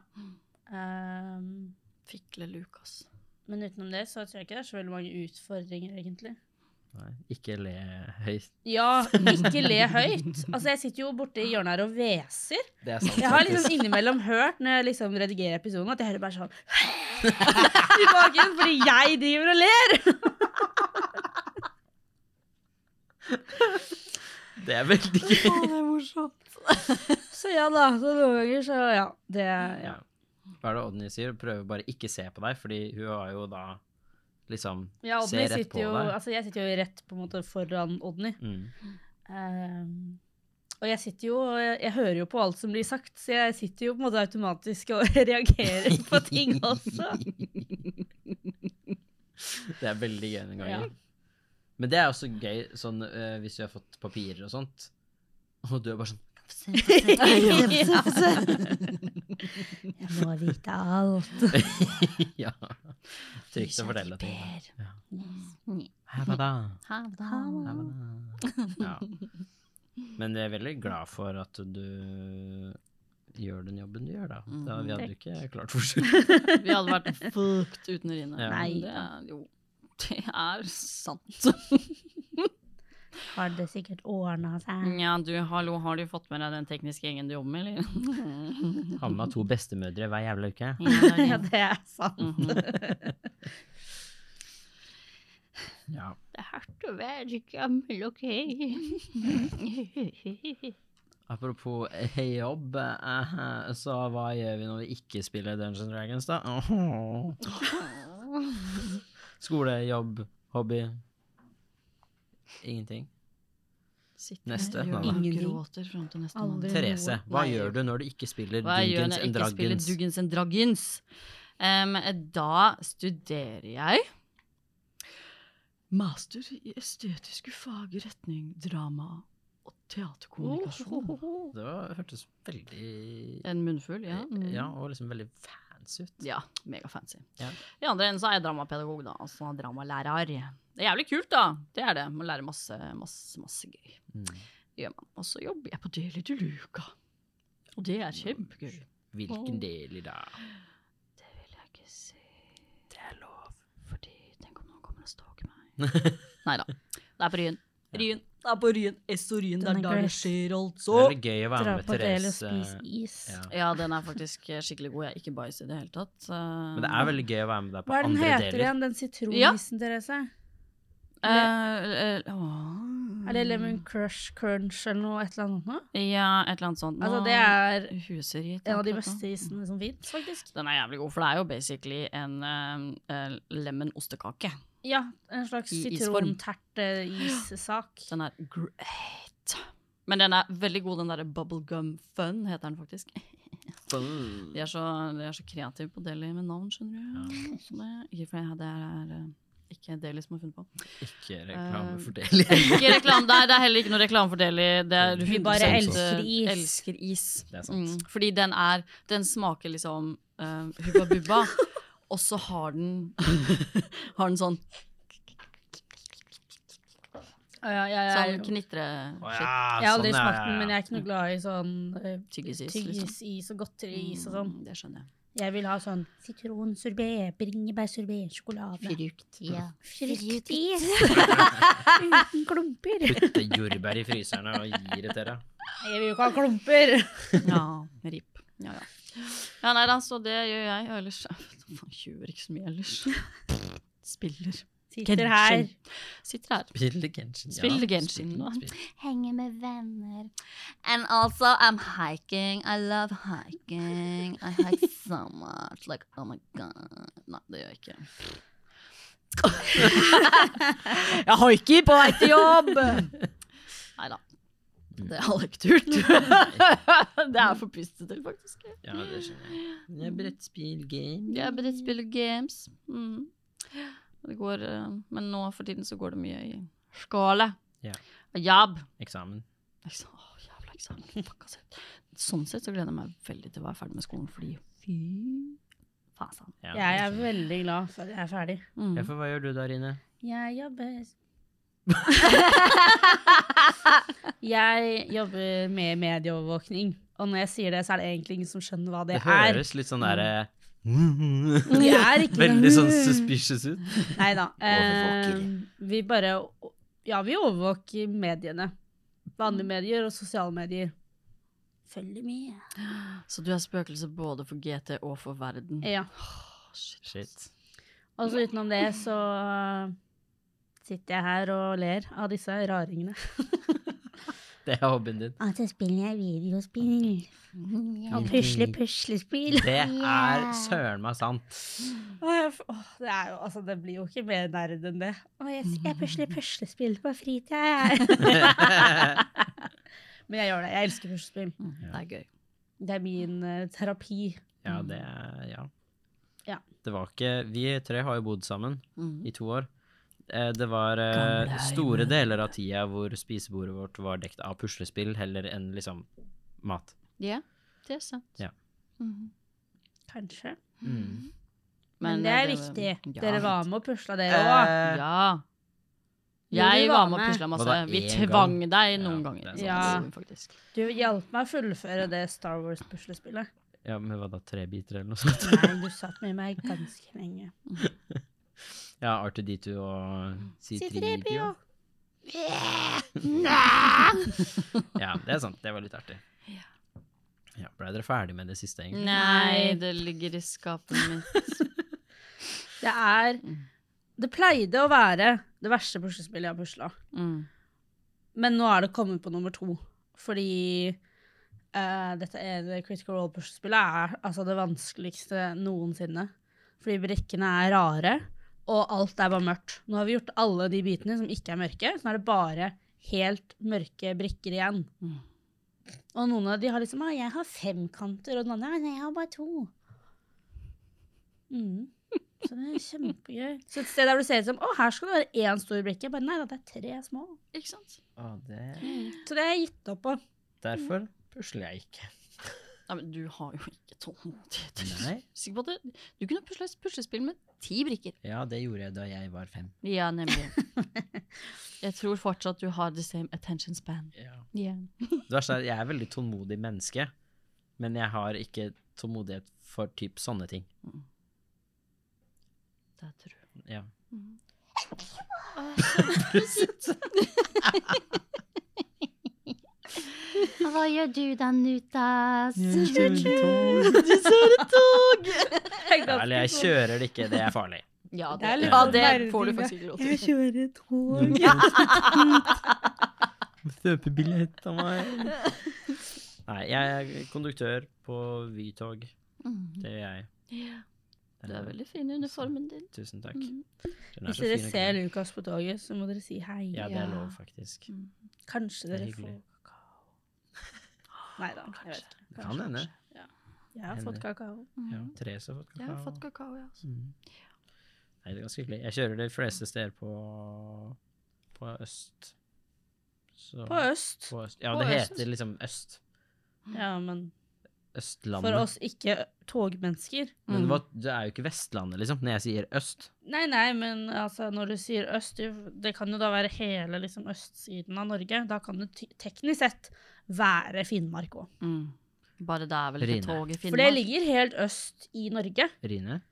Ehm,
Fikle Lukas.
men utenom det så tror jeg ikke det er så veldig mange utfordringer, egentlig.
Nei, ikke le høyt.
Ja, ikke le høyt. Altså, jeg sitter jo borte i hjørnet her og hveser.
Det er sant.
Jeg har
faktisk.
liksom innimellom hørt når jeg liksom redigerer episoden, at jeg hører bare sånn (laughs) i bakgrunnen, fordi jeg driver og ler. liksom-
Det er veldig gøy.
Å, det er morsomt.
Så ja da. Så noen ganger så ja. Det (laughs) ja.
Ja. Hva er det Odny sier? Prøver bare ikke se på deg, fordi hun har jo da liksom
ja
Se
Odny
rett på
sitter jo
deg.
Altså, jeg sitter jo rett på en måte foran Odny.
mm.
Ehm, og jeg sitter jo jeg, jeg hører jo på alt som blir sagt, så jeg sitter jo på en måte automatisk og (laughs) reagerer på ting også.
Det er veldig gøy noen ganger.
Ja.
Men det er også gøy sånn eh, hvis du har fått papirer og sånt, og du er bare sånn
(laughs)
ja. Jeg må vite alt.
sånn, (laughs) Ja. Trygt å fortelle ting. da. Her da.
Ha det.
Her da. Ja. Men jeg er veldig glad for at du gjør den jobben du gjør, da. da vi
Mm.
hadde jo ikke klart for seg.
Vi hadde vært fucked uten Rine.
Ja.
Nei
Det
da.
er, jo, det er sant.
har det sikkert ordna seg.
Mm. Ja, du, hallo, har du fått med deg den tekniske gjengen du jobber med, (laughs) eller?
Har med meg to bestemødre hver jævla uke.
(laughs)
Ja,
Ja,
det er-
det er sant.
(laughs)
Mhm.
Ja.
Det er hardt å være gammel, (laughs) OK?
Apropos eh, jobb, eh, eh, så hva gjør vi når vi ikke spiller Dungeons and Dragons, da?
(laughs)
Skole, jobb, hobby? Ingenting.
Sitter
Neste,
her,
nei,
gjør
nei.
noe,
Ingenting.
Gråter frem til neste
Aldri.
måned.
Therese, hva
Nei.
gjør du når du ikke spiller
Hva jeg gjør
Dungeons
når jeg
and
ikke spiller
Dragons?
Duggins and Dragons? Em, da studerer jeg master i estetiske fag i retning drama og teaterkommunikasjon.
Det var, hørtes veldig
En munnfull, ja. Mm.
Ja, og liksom veldig fancy ut.
Ja, mega fancy.
Ja.
I andre enden så er jeg dramapedagog, da. Altså dramalærer. Det er jævlig kult, da. Det er det. Man lærer masse, masse, masse gøy.
Mm.
Det gjør man. Og så jobber jeg på Deli de Luca. Og det er kjempegøy.
Hvilken del i dag?
Det vil jeg ikke si. Det er lov. Fordi tenk om noen kommer og stalker meg. (laughs) Nei da. Det er på Ryen. Ryen. Det er på Ryen. SO Ryen. Det
Den
er
er
der det
glass.
skjer,
Det
altså.
er veldig gøy å være
Dra
med
på det eller
Therese.
spis is.
Ja.
Ja, den er faktisk eh, skikkelig god. Jeg er ikke bajs i det hele tatt. eh,
Men det er veldig gøy å være med deg på
Hva er den
andre
heter
deler.
igjen, den sitronisen, Therese?
eh, eh, åh.
Er det Lemon Crush Crunch eller noe et eller annet nå?
Ja, et eller annet sånt.
Altså, det er
Huser i
en av
akkurat
de
nå.
beste isene som fins, faktisk.
Den er jævlig god, for det er jo basically en eh, eh, lemon ostekake.
Ja, en slags
I isform.
sitronterte-issak.
Den er great. Men den er veldig god, den derre bubblegum fun, heter den faktisk. De er så, de er så kreative på Deli med navn, skjønner du. Så det, ikke for jeg- det er eh, ikke Deli som har funnet på.
Ikke reklame for det heller.
Ikke reklame, det, er, det er heller ikke noe reklame for Deli. Det er
Vi
100%
bare elsker is.
eh, elsker is.
Det er sant.
Mm, fordi den er Den smaker liksom eh, hubba bubba, (laughs) og så har den (laughs) Har den sånn,
Ja, ja, ja,
sånn
ja.
knitre...
Å
shit,
ja,
Jeg har aldri
sånn, ja,
smakt
ja,
den, men
ja.
jeg er ikke noe glad i sånn eh,
Tyggisis, liksom.
tyggisis og godteriis og sånn.
Mm, Det skjønner jeg.
Jeg vil ha sånn sitronsorbé, bringebærsorbé, sjokolade.
Fruktige. (laughs)
Fruktis! Uten klumper.
Putte jordbær i fryseren og gir det til deg.
Jeg vil jo ikke ha klumper.
Ja, rip. Ja, ja. ja, nei da, så det gjør jeg. Og ellers (laughs) Faen, gjør ikke så mye ellers. (laughs) Spiller.
Sitter her.
Genshin. Sitter her.
Spille Genshin. ja.
Spille Genshin,
Spill-
da.
spill.
Henge med venner.
And also, I'm hiking. I love hiking. I hike so much. Like, oh my god. Nei, det gjør jeg ikke. (laughs) jeg haiker på vei til jobb! Nei da. Det hadde jeg ikke turt. (laughs) det er for pustete, faktisk.
Ja, det skjønner jeg. Det er brettspill, game.
Jeg er beredt til å spille games. Mm. Det går, eh, men nå for tiden så går det mye i skole.
Ja.
Og Jobb.
Eksamen.
Jeg sa, liksom, «Åh, jævla eksamen. Fuck, ass». Sånn sett så gleder jeg meg veldig til å være ferdig med skolen, fordi fy faen. sant.
Ja,
(laughs) Jeg er veldig glad for at jeg er ferdig.
Mm.
Ja, for hva gjør du der inne?
Jeg jobber
(laughs)
Jeg jobber med medieovervåkning. Og når jeg sier det, så er det egentlig ingen som skjønner hva det,
Det
er.
høres litt sånn derre (laughs) Veldig
Det er ikke
sånn suspicious ut.
Nei da.
Overvåker.
ehm, vi bare Ja, vi overvåker mediene. Vanlige medier og sosiale medier. Følger med.
Så du er spøkelse både for GT og for verden.
Ja.
Åh, shit.
Shit.
Og så utenom det så eh, sitter jeg her og ler av disse raringene.
Det er hobbyen din.
Og så spiller jeg videospill.
Og pusle puslespill.
Det er søren meg
(laughs)
sant. (laughs)
Åh, jeg f- åh, det, er jo, altså, det blir jo ikke mer nerd enn det. Åh, jeg, s- jeg pusler puslespill på fritida,
(laughs)
jeg. Men jeg gjør det. Jeg elsker puslespill.
Mm, Det er gøy.
Det er min eh, terapi.
Ja, det er Ja.
Ja.
Det var ikke Vi tre har jo bodd sammen
Mm.
i to år. Eh, Det var eh,
Gamle
store
Eivind.
deler av tida hvor spisebordet vårt var dekt av puslespill heller enn liksom mat.
Ja, det er sant.
Ja.
Mhm.
Kanskje.
Mm. Men,
Mm. Men, det
eh,
er viktig.
Ja.
Dere var med og pusla, dere òg.
Eh,
Ja.
Ja, du
Jeg
var
var med og
med.
pusla
Var
masse.
det
Vi
én
tvang deg
Ja,
noen
det
ganger.
er sant.
Ja.
Det gjorde vi faktisk.
Du hjalp meg å fullføre det Star Wars-puslespillet.
Ja, men hva da, tre biter eller noe sånt?
Nei, du satt med meg ganske lenge.
Ja, R2D2 og C3PO. (laughs) Ja, det er sant. Det var litt artig. Ja, Ble dere ferdig med det siste, egentlig?
Nei, det ligger i skapet
(laughs)
mitt.
Det er Det pleide å være det verste puslespillet jeg har pusla.
Mm.
Men nå er det kommet på nummer to. Fordi eh, dette ene Critical Role-puslespillet er altså det vanskeligste noensinne. Fordi brekkene er rare, og alt er bare mørkt. Nå har vi gjort alle de bitene som ikke er mørke, så nå er det bare helt mørke brikker igjen.
Mm.
Og noen av de har liksom ah, 'Jeg har fem kanter', og den andre «Ah, nei, 'Jeg har bare to'. Mm. Så det er kjempegøy. Så et sted der du ser ut som 'Å, her skal det være én stor brikke', bare nei da, det er tre små.
Ikke sant?
Å, det...
Så det har jeg gitt (laughs) opp på.
Derfor pusler jeg ikke.
Nei, men du har jo ikke tålmodighet.
Nei.
Sikker på at du, du kunne pusle et puslespill med ti brikker.
Ja, det gjorde jeg da jeg var fem.
Ja, (laughs) nemlig. Jeg tror fortsatt du har the same attention span. Ja.
Det verste er at jeg er et veldig tålmodig menneske, men jeg har ikke tålmodighet for typ sånne ting.
Det tror jeg.
Ja.
Hva gjør du da, Nutas? (laughs)
Eller jeg kjører det ikke, det er (laughs) farlig.
Ja,
Det er
det,
litt
ja,
sånn
det
nerding,
får du
da.
faktisk ikke lov til.
kjører
Mm.
(laughs)
tog.
Kjøpe billett av meg. Nei, jeg er konduktør på Vy-tog.
Mm.
Det er jeg.
Ja. Du er veldig fin i uniformen din.
Tusen takk.
Mm.
Den er
Hvis
så
dere
fin og
ser
grønn.
Lukas på toget, så må dere si hei.
Ja, det er
Ja. Mm.
lov, faktisk.
Kanskje
Det er
dere får
hyggelig.
Nei da, jeg vet ikke.
Det kan hende.
Jeg har fått kakao.
Ja, Therese har fått
Mm. Jeg har fått
kakao.
kakao, altså. jeg også.
Mm. Nei, det er ganske hyggelig. Jeg kjører de fleste steder på, på øst. Så-
På øst.
på øst. Ja,
På
det
øst.
heter liksom øst.
Ja, men
Østlandet.
for oss ikke togmennesker.
Men hva, det er jo ikke Vestlandet, liksom, når jeg sier øst.
Nei, nei, men altså, når du sier øst, du- det kan jo da være hele liksom, østsiden av Norge. Da kan det ty- teknisk sett være Finnmark òg.
Mm. Bare det er vel
Rine.
ikke tog i
For det
Finnmark.
ligger helt øst i Norge. (laughs)
Rine? (laughs)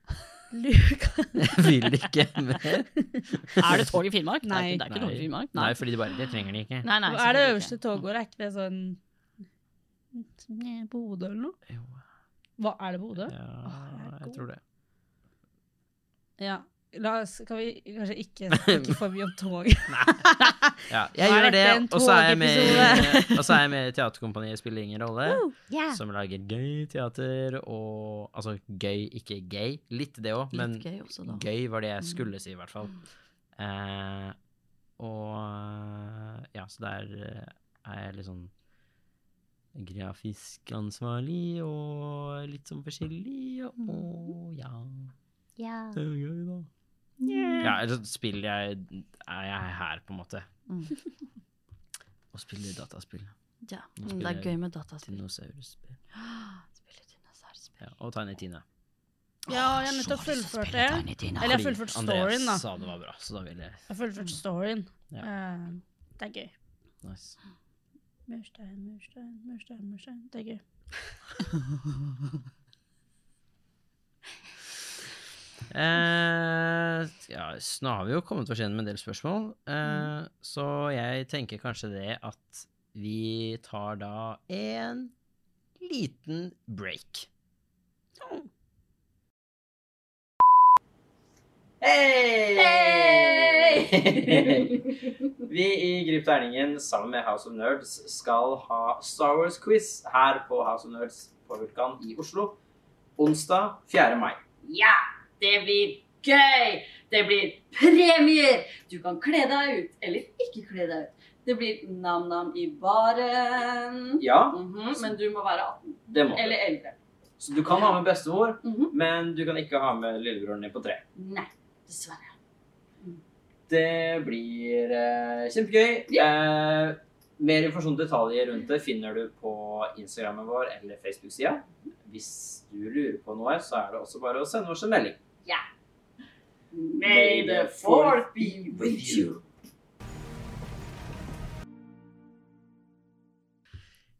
Luka.
Jeg vil ikke mer.
Er det tog i Finnmark?
Nei.
Det er ikke tog i Finnmark.
(laughs) Nei, fordi de bare Det trenger de ikke.
Nei, nei,
Hva er det
selvfølgelig
øverste
ikke.
toget? Er ikke det sånn Nei, Bodø eller noe?
Jo,
Hva er det Bodø?
Ja, jeg tror det.
Ja. La oss, kan vi kanskje ikke snakke for mye om tog?
Ja, jeg
Nå er
gjør det,
dette en
og så er jeg med,
togepisode.
(laughs) og så er jeg med i Teaterkompaniet Spiller ingen rolle,
Ja.
som lager gøy teater og Altså gøy, ikke gøy. Litt det òg, men
Litt gøy også, Mm. da.
gøy var det jeg skulle si, i hvert fall. Eh, og ja, så der eh, er jeg litt sånn grafisk ansvarlig og litt sånn forskjellig, og ja
ja.
Det er jo gøy, da. Ja, eller så spiller jeg Er jeg her, på en måte,
Mm.
og spiller dataspill.
Ja,
Nå
men det er
spiller
gøy med (gasps) dataspill.
Dinosaurspill.
Spille dinosaurspill.
Ja, og Tiny Tina.
Ja, jeg har nettopp fullført det. Eller jeg har fullført
Andreas
storyen, da.
sa det var bra, så da vil jeg
Jeg har fullført storyen.
Ja.
Eh, det er gøy.
Nice.
Murstein, murstein, murstein, murstein. Det er gøy.
Eh, ja, s- nå har vi jo kommet oss gjennom en del spørsmål,
Mm.
eh, så jeg tenker kanskje det at vi tar da en liten break.
(laughs)
Vi i Grip Terningen sammen med House of Nerds skal ha Star Wars-quiz her på House of Nerds på Vulkan i Oslo onsdag 4. mai.
Ja, det blir gøy! Det blir premier! Du kan kle deg ut, eller ikke kle deg ut. Det blir nam-nam i baren.
Ja,
Mhm, men du må være 18
det må
eller
du.
11.
Så du kan ha med bestemor,
Mhm.
men du kan ikke ha med lillebroren din på tre.
Nei, dessverre.
Det blir eh, kjempegøy. Eh, mer informasjon og detaljer rundt det finner du på Instagrammen vår eller Facebook-sida. Hvis du lurer på noe, så er det også bare å sende oss en melding.
May the fourth be with you.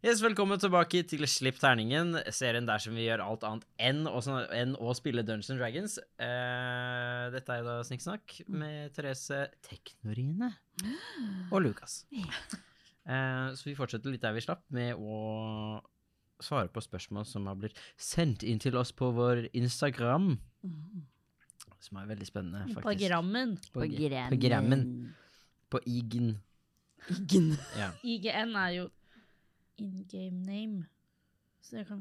Yes, velkommen tilbake til Slipp terningen, serien der som vi gjør alt annet enn å, enn å spille Dungeons and Dragons. Eh, dette er jo da Snikksnakk med Therese Teknorine og Lukas. Eh, så vi fortsetter litt der vi slapp, med å svare på spørsmål som har blitt sendt inn til oss på vår Instagram, som er veldig spennende,
På
faktisk.
grammen.
På, g- på grammen. På igen.
Iggen.
Ja.
IGN er jo in game name. Så jeg kan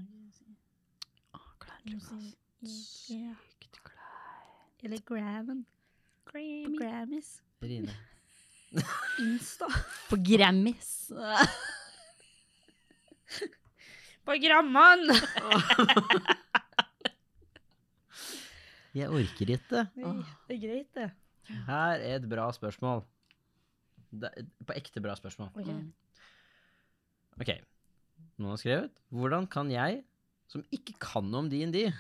ikke si Ja. Eller Grammen. På Grammys.
Rine.
(laughs) Insta.
På Grammys.
På Gramman!
Jeg orker ikke.
Det er greit, det.
Her er et bra spørsmål. Det er et- på ekte bra spørsmål.
Mm.
Ok, noen har skrevet. Hvordan kan jeg, som ikke kan noe om D&D,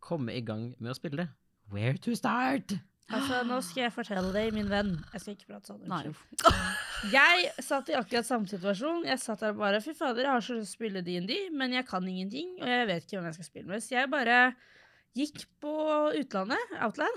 komme i gang med å spille? Where to start?
Altså, nå skal jeg fortelle deg, min venn. Jeg skal ikke prate sånn.
Nei,
unnskyld.
uff.
Jeg satt i akkurat samme situasjon. Jeg satt der bare Fy fader, jeg har så lyst til å spille DND, men jeg kan ingenting, og jeg vet ikke hvem jeg skal spille med. Så jeg bare gikk på utlandet, Outland,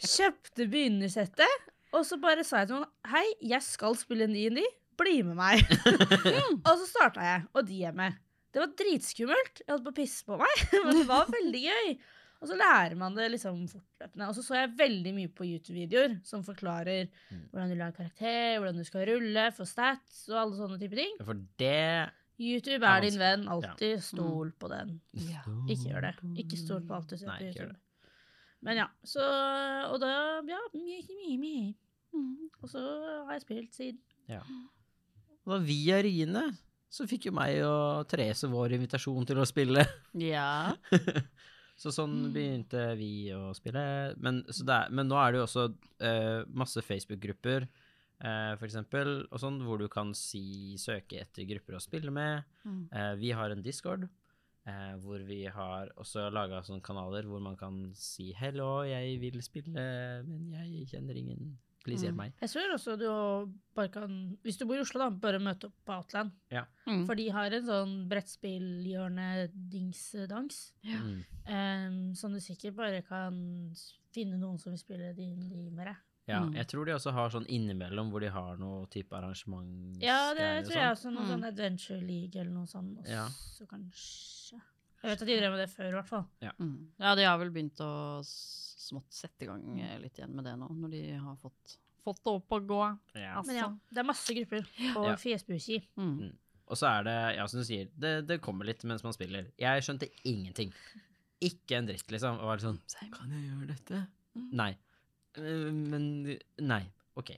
kjøpte begynnersettet, og så bare sa jeg til noen Hei, jeg skal spille DND. Bli med meg. (laughs) og så starta jeg, og de er med. Det var dritskummelt. Jeg holdt på å pisse på meg, (laughs) men det var veldig gøy. Og så lærer man det liksom fortløpende. Og så så jeg veldig mye på YouTube-videoer som forklarer hvordan du lager karakter, hvordan du skal rulle, få stats og alle sånne type ting.
For det...
YouTube
Ja, Mm.
er din venn. Alltid stol på den.
Ja.
Ikke gjør det. Ikke stol på alt du ser
Nei,
på
ikke gjør
YouTube. Men ja, så Og da Ja, mye, mye, mye. Og så har jeg spilt siden.
Og da via Rine, så fikk jo meg og Therese vår invitasjon til å spille.
Ja.
Så sånn begynte vi å spille. Men, så det er, men nå er det jo også eh, masse Facebook-grupper, eh, for eksempel, og sånn, hvor du kan si, søke etter grupper å spille med.
Mm.
Eh, vi har en Discord, eh, hvor vi har også laga sånne kanaler hvor man kan si 'hello, jeg vil spille, men jeg kjenner ingen'. Please hjelp
Mm.
meg.
Jeg tror også du bare kan Hvis du bor i Oslo, da, bare møte opp på Outland.
Mm.
For de har en sånn brettspillhjørne-dings-dans.
Ja.
Mm.
Um, som du sikkert bare kan s- finne noen som vil spille din limere.
Ja,
Mm.
jeg tror de også har sånn innimellom hvor de har noe type arrangement.
Ja, det
greier og
tror jeg
sånn.
også. Noen
Mm.
sånn Adventure League eller noe sånt også,
Ja.
kanskje. Jeg vet at de drev med det før, i hvert fall.
Mm. Ja, de har vel begynt å s- smått sette i gang eh, litt igjen med det nå, når de har fått, fått det opp og gå.
Ja.
Men ja, det er masse grupper på
Ja.
Fjesbusi.
Mm.
Og så er det, ja, som du sier, det, det kommer litt mens man spiller. Jeg skjønte ingenting. Ikke en dritt, liksom. Og var litt sånn
Same.
Kan jeg gjøre dette?
Mm.
Nei. Eh, Men Nei. OK.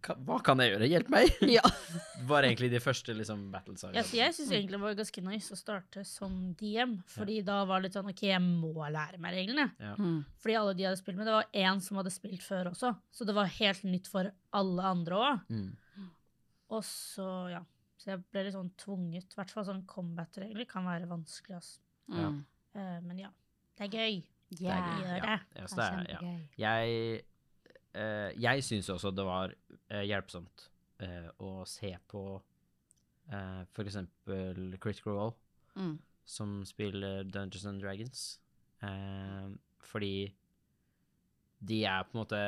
Ka- Hva kan jeg gjøre? Hjelp meg!
Ja.
(laughs) var egentlig de første liksom, battles.
Ja, så jeg syns egentlig det var ganske nice å starte som DM, fordi da var det litt sånn OK, jeg må lære meg reglene.
Mm.
Fordi alle de jeg hadde spilt med, det var én som hadde spilt før også, så det var helt nytt for alle andre òg.
Mm.
Og så, ja. Så jeg ble litt sånn tvunget. I hvert fall sånn combat-regler kan være vanskelig. ass.
Ja.
Mm.
Eh, men ja, det er gøy.
Det er
Vi
gøy.
gjør
Ja.
det.
Ja, så det er, ja. Jeg, eh, jeg syns også det var eh, hjelpsomt eh, å se på eh, for eksempel Critical Role,
Mm.
som spiller Dungeons and Dragons. Eh, fordi de er på en måte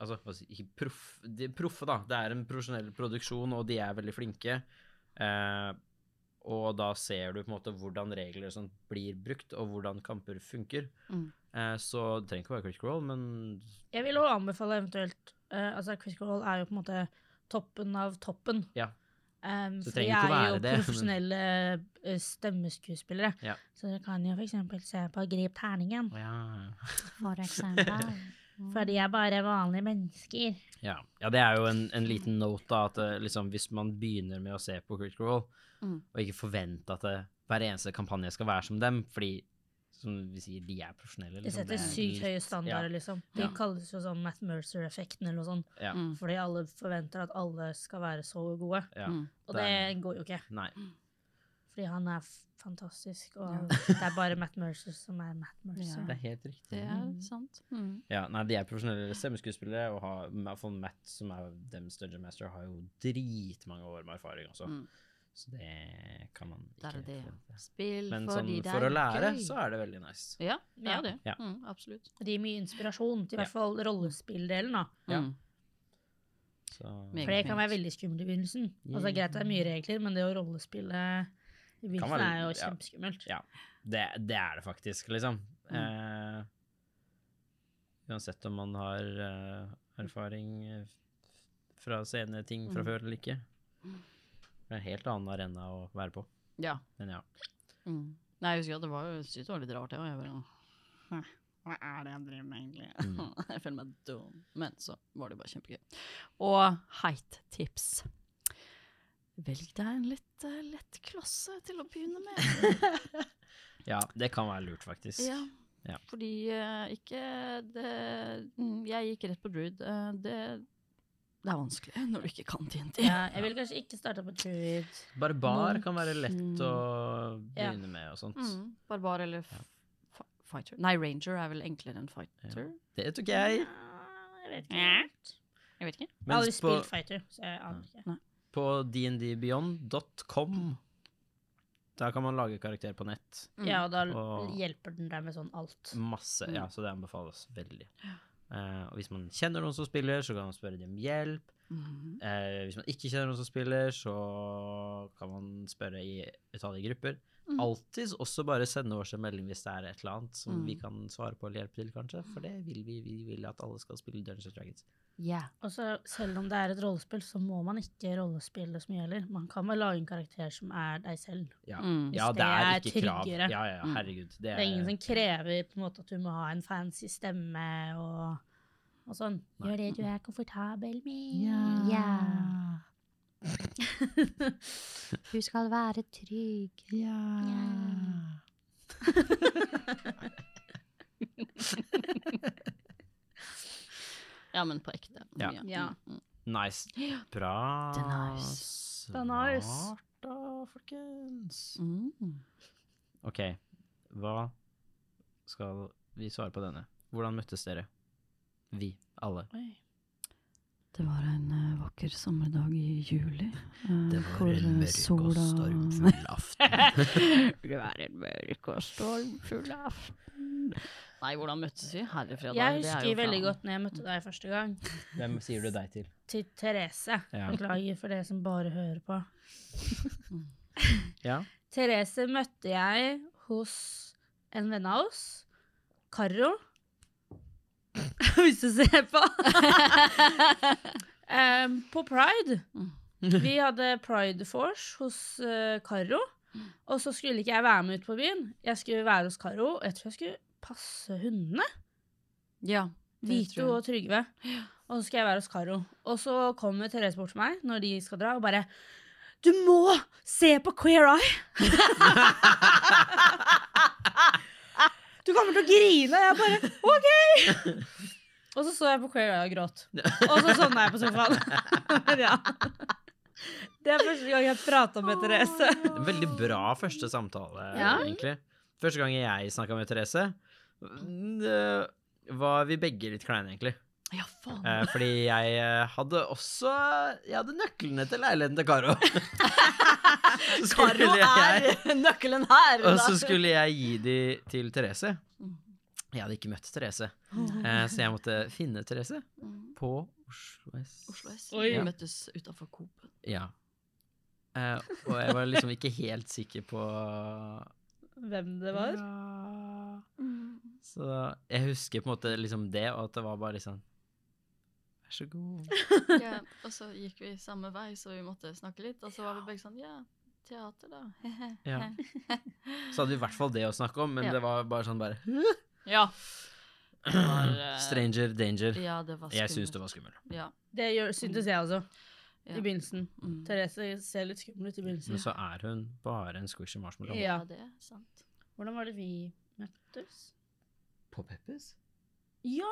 Altså, hva skal jeg si, ikke proff, de er proffe, da. Det er en profesjonell produksjon, og de er veldig flinke. Eh, og da ser du på en måte hvordan regler og sånt blir brukt, og hvordan kamper funker.
Mm.
Eh, så det trenger ikke å være critical roll, men
Jeg vil også anbefale eventuelt eh, Altså, Critical Role er jo på en måte toppen av toppen.
Ja.
Um,
Så det
for de
trenger ikke å
er jo
være det, men-
profesjonelle eh, stemmeskuespillere.
Ja.
Så dere kan jo for eksempel se på Grip terningen.
Å, ja.
For eksempel.
(laughs) For de er bare vanlige mennesker.
Ja. ja, det er jo en, en liten note da, at eh, liksom, hvis man begynner med å se på Critical Role,
Mm.
og ikke forvente at det, hver eneste kampanje skal være som dem, fordi som vi sier, de Liksom er profesjonelle.
De setter sykt høye standarder, liksom. De
Ja.
kalles jo sånn Matt Mercer-effekten eller noe sånt.
Ja.
Mm.
Fordi alle forventer at alle skal være så gode.
Ja.
Mm.
Og
Det
det,
er-
går jo ikke.
Nei.
Fordi han er f- fantastisk, og
Ja.
det er bare Matt Mercer som er Matt Mercer.
Det er helt riktig.
Det er sant. Mm.
Ja, nei, de er profesjonelle stemmeskuespillere, og har, Ma- for Matt, som er deres Dungeon Master, har jo dritmange år med erfaring også.
Mm.
Så det kan man ikke
Der er det, ja.
forvente.
Spill
Men sånn,
fordi det er
for å lære,
gøy.
så er det veldig nice.
Ja, det er
Ja.
jo det.
Ja.
Mm, absolutt.
Det gir mye inspirasjon, til i hvert fall rollespilldelen. da.
Ja.
Mm.
Så,
Meget.
For det kan være veldig skummelt i begynnelsen.
Mm.
Altså, greit det er mye regler, men det å rollespille i begynnelsen
være-
er jo
ja.
kjempeskummelt.
Ja. det, det er det faktisk, liksom. Eh, uansett om man har eh, erfaring eh, f- fra senere ting fra før eller ikke. Det er en helt annen arena å være på.
ja.
Men ja.
Mm. Nei, jeg husker at det var, jo- jeg synes det var litt rart. Jeg, var- jeg bare, hva er det jeg driver med egentlig?
Mm.
(laughs) jeg føler meg dum. Men så var det jo bare kjempegøy. Og heittips. Velg deg en litt eh, lett klasse til å begynne med.
ja, det kan være lurt, faktisk.
(laughs) Ja.
Ja.
Fordi eh, ikke det mm, Jeg gikk rett på Druid. eh, det, det er vanskelig når du ikke kan TNT.
Ja, jeg ville kanskje ikke starta på Druid.
Barbar
Monk.
kan være lett å
Ja.
begynne med og sånt.
Mm, barbar eller f fi- fighter. Nei, ranger er vel enklere enn fighter.
Det tok jeg.
Ja, Jeg vet ikke.
Ja.
helt.
Jeg vet ikke.
Jeg har aldri
Mens på,
spilt Fighter, så jeg aner ikke.
på dndbeyond.com, der kan man lage karakter på nett.
Mm.
Ja, og da
Og- Mm.
hjelper den deg med sånn alt.
Masse, ja, så det anbefales veldig. Eh, og hvis man kjenner noen som spiller, så kan man spørre dem om hjelp.
Mm.
Eh, hvis man ikke kjenner noen som spiller, så kan man spørre i utallige grupper. Alltid også bare sende oss en melding hvis det er et eller annet som
Mm.
vi kan svare på eller hjelpe til, kanskje. For det vil vi. Vi vil at alle skal spille Dungeons and Dragons.
Yeah.
Og så selv om det er et rollespill, så må man ikke rollespille så mye heller. Man kan vel lage en karakter som er deg selv.
Ja,
Mm.
ja
Hvis
det er
det er
ikke krav. Ja,
tryggere.
ja, ja,
Mm.
herregud. Det
Det
er,
er ingen som krever på en måte at du må ha en fancy stemme og, og sånn.
Gjør det du er komfortabel med. Du skal være trygg.
(laughs) Ja, men på ekte.
Ja.
Ja.
Mm.
Nice. Bra.
Det er nice.
Det er nice.
Smart da, folkens.
Mm. Mm.
Ok, hva skal vi svare på denne? Hvordan møttes dere? Vi, alle.
Det var en eh, vakker sommerdag i juli. eh, hvor, eh, (laughs)
aften. (laughs)
det var en mørk og stormfull aften. Nei, hvordan møttes vi? Herrefredag.
Jeg
det er
husker
jo fra-
veldig godt når jeg møtte deg første gang,
Hvem sier du deg til?
til Therese.
Ja.
Beklager for det som bare hører på.
Ja,
Therese møtte jeg hos en venn av oss, Karo. (laughs) Hvis du ser på. Em, på Pride.
Mm.
Vi hadde Pride Force hos eh, Karo. Og så skulle ikke jeg være med ut på byen. Jeg skulle være hos Karo. og Jeg tror jeg skulle passe hundene.
Ja. det
Vito
tror jeg.
og Trygve. Og så skal jeg være hos Karo. Og så kommer Therese bort til meg når de skal dra, og bare Du må se på Queer Eye! (laughs) du kommer til å grine! Og jeg bare OK! Og så så jeg på Queer Eye og gråt. Og så sovna jeg på sofaen. (laughs) Men ja. Det er første gang jeg prata med Therese.
en veldig bra første samtale,
Ja.
egentlig. Første gang jeg snakket med Therese, øh, var vi begge litt kleine, egentlig.
Ja, faen.
Eh, fordi jeg eh, hadde også Jeg hadde nøklene til leiligheten til
(laughs)
Karo. Så skulle
Karo
jeg-
er nøkkelen her!
Og
da.
så skulle jeg gi de til Therese.
Mm.
Jeg hadde ikke møtt Therese, eh, så jeg måtte finne Therese
Mm.
på Oslo S.
Oslo S.
Oi.
Vi møttes utafor Coop.
Ja. Eh, og jeg var liksom ikke helt sikker på
Hvem det var?
Ja.
Mm.
Så jeg husker på en måte liksom det, og at det var bare liksom Vær så god.
Ja, og så gikk vi samme vei, så vi måtte snakke litt. Og så var vi begge sånn Ja, teater, da.
Ja. (laughs) Så hadde vi i hvert fall det å snakke om, men
Ja.
det var bare sånn bare
ja. Det
(clears throat)
var, eh,
Stranger danger.
Ja, det var
Jeg syns det var skummelt.
Ja.
Det gjør- syntes jeg også.
Ja.
I begynnelsen.
Mm.
Therese ser litt skummel ut i begynnelsen.
Men så er hun bare en squishy marshmallow.
Ja.
Ja, det er sant.
Hvordan var det vi møttes?
På Peppers?
Ja!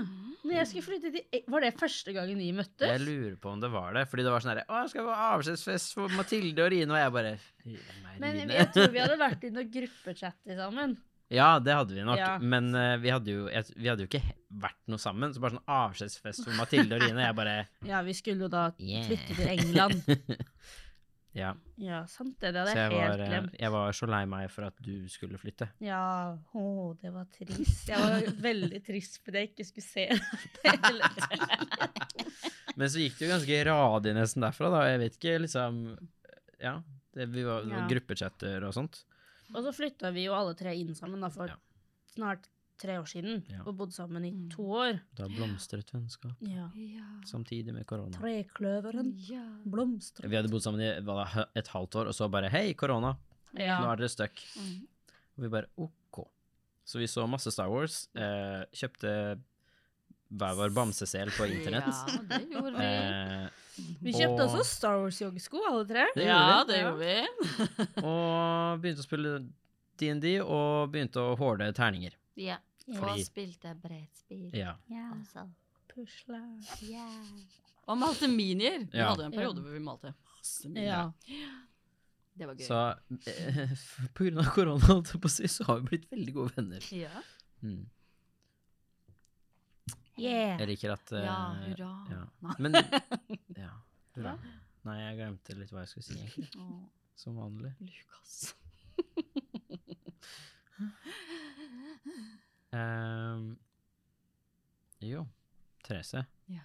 Når jeg skulle flytte til E- Var det første gangen vi møttes?
Jeg lurer på om det var det. Fordi det var sånn herre Å, jeg skal på avskjedsfest for Mathilde og Rine, og jeg bare «Fy, meg,
Men
Rine».
jeg tror vi hadde vært i noen gruppechatter sammen.
(laughs) Ja, det hadde vi nok.
Ja.
Men eh, vi, hadde jo, jeg, vi hadde jo ikke he- vært noe sammen. Så bare sånn
(laughs)
avskjedsfest for Mathilde og Rine, jeg bare
Ja, vi skulle jo da
Yeah. (laughs)
flytte til England.
Ja.
Ja, sant det. Det
Så
hadde
jeg
jeg helt
var, eh,
glemt.
jeg var så lei meg for at du skulle flytte.
Ja, å, det var trist. Jeg var veldig trist fordi jeg ikke skulle se det hele tiden.
Men så gikk det jo ganske radig nesten derfra, da. Jeg vet ikke, liksom Ja. Det, vi var
Ja.
gruppechatter og sånt.
(laughs) Og så flytta vi jo alle tre inn sammen da, for
Ja.
snart tre år siden.
Ja.
Og bodde sammen i
Mm.
to år.
Da blomstret vennskap
Ja.
Ja.
samtidig med korona.
Trekløveren
ja.
blomstrer.
Vi hadde bodd sammen i hva da, hø- et halvt år, og så bare Hei, korona!
Ja.
Nå er dere stuck.
Mm.
Og vi bare OK. Så vi så masse Star Wars. Eh, kjøpte hver vår bamsesel på internett.
Ja, det gjorde vi.
Eh,
Vi kjøpte
Og-
også Star Wars-joggesko, alle tre.
det
(laughs) ja,
gjorde vi.
det gjorde vi.
eh, Og begynte å spille DND, og begynte å håle terninger.
Ja.
Fordi-
Og spilte brettspill.
Ja.
Ja.
Altså.
Pusla.
Ja.
Og malte minier. Vi
Ja.
hadde jo en periode hvor vi malte masse minier.
Ja.
Det var gøy.
Så eh, (laughs) på grunn av korona, holdt jeg på å si, så har vi blitt veldig gode venner.
ja.
Mm.
Yeah.
Jeg liker at eh,
ja, hurra.
ja.
Nei. (laughs)
Men ja, hurra. Nei, jeg glemte litt hva jeg skulle si,
(laughs)
egentlig.
Å,
Som vanlig.
Lukas.
Ehm, jo, Therese.
Ja.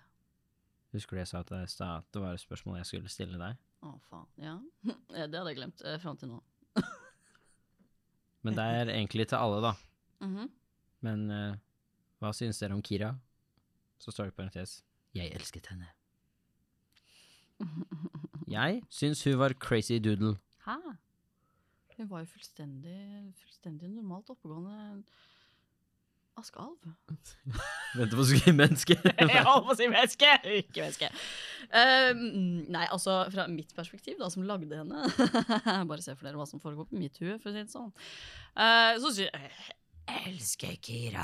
Husker du jeg sa til deg i stad at det var et spørsmål jeg skulle stille deg?
Å, faen. Ja. (laughs) ja, det hadde jeg glemt eh, fram til nå.
Men det er egentlig til alle, da.
Mhm.
Men eh, hva syns dere om Kira? Så står det i parentes Jeg elsket henne. Jeg syns hun var crazy doodle.
Hæ? Hun var jo fullstendig, fullstendig normalt oppegående askealv. (laughs)
Vent på å skrive menneske.
Jeg holdt på å si menneske! Ikke menneske. Ehm, nei, altså fra mitt perspektiv, da, som lagde henne (laughs) Bare se for dere hva som foregår på mitt hue, for å si det sånn. Eh, så sier jeg «Jeg elsker Kira.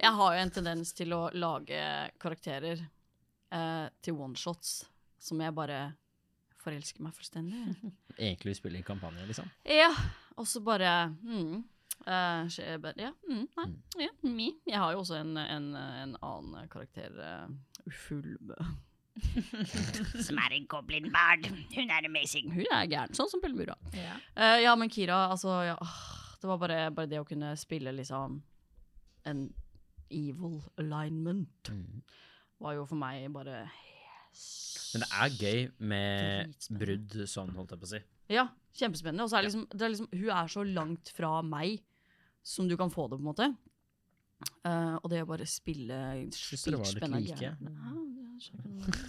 Jeg har jo en tendens til å lage karakterer eh, til oneshots som jeg bare forelsker meg fullstendig i.
Egentlig spiller i kampanje, liksom.
Ja, og så bare mm, eh, skje- bare- Ja, mm, nei, ja, mi. Jeg har jo også en, en, en annen karakter, uh, Ufulbe.
Som er en goblinbard. Hun er amazing.
Hun er gæren, sånn som Pellemura.
Ja.
Eh, ja, men Kira, altså ja, åh, Det var bare, bare det å kunne spille liksom en evil alignment var jo for meg bare
Men det er gøy med
Dritspennende.
brudd sånn, holdt jeg på å si.
Ja, kjempespennende. Og så er det liksom, det er liksom Hun er så langt fra meg som du kan få det, på en måte. Eh, og det å bare spille
Synes dere var litt
spennende
like? Mm.
greier. Ja, jeg skjønner.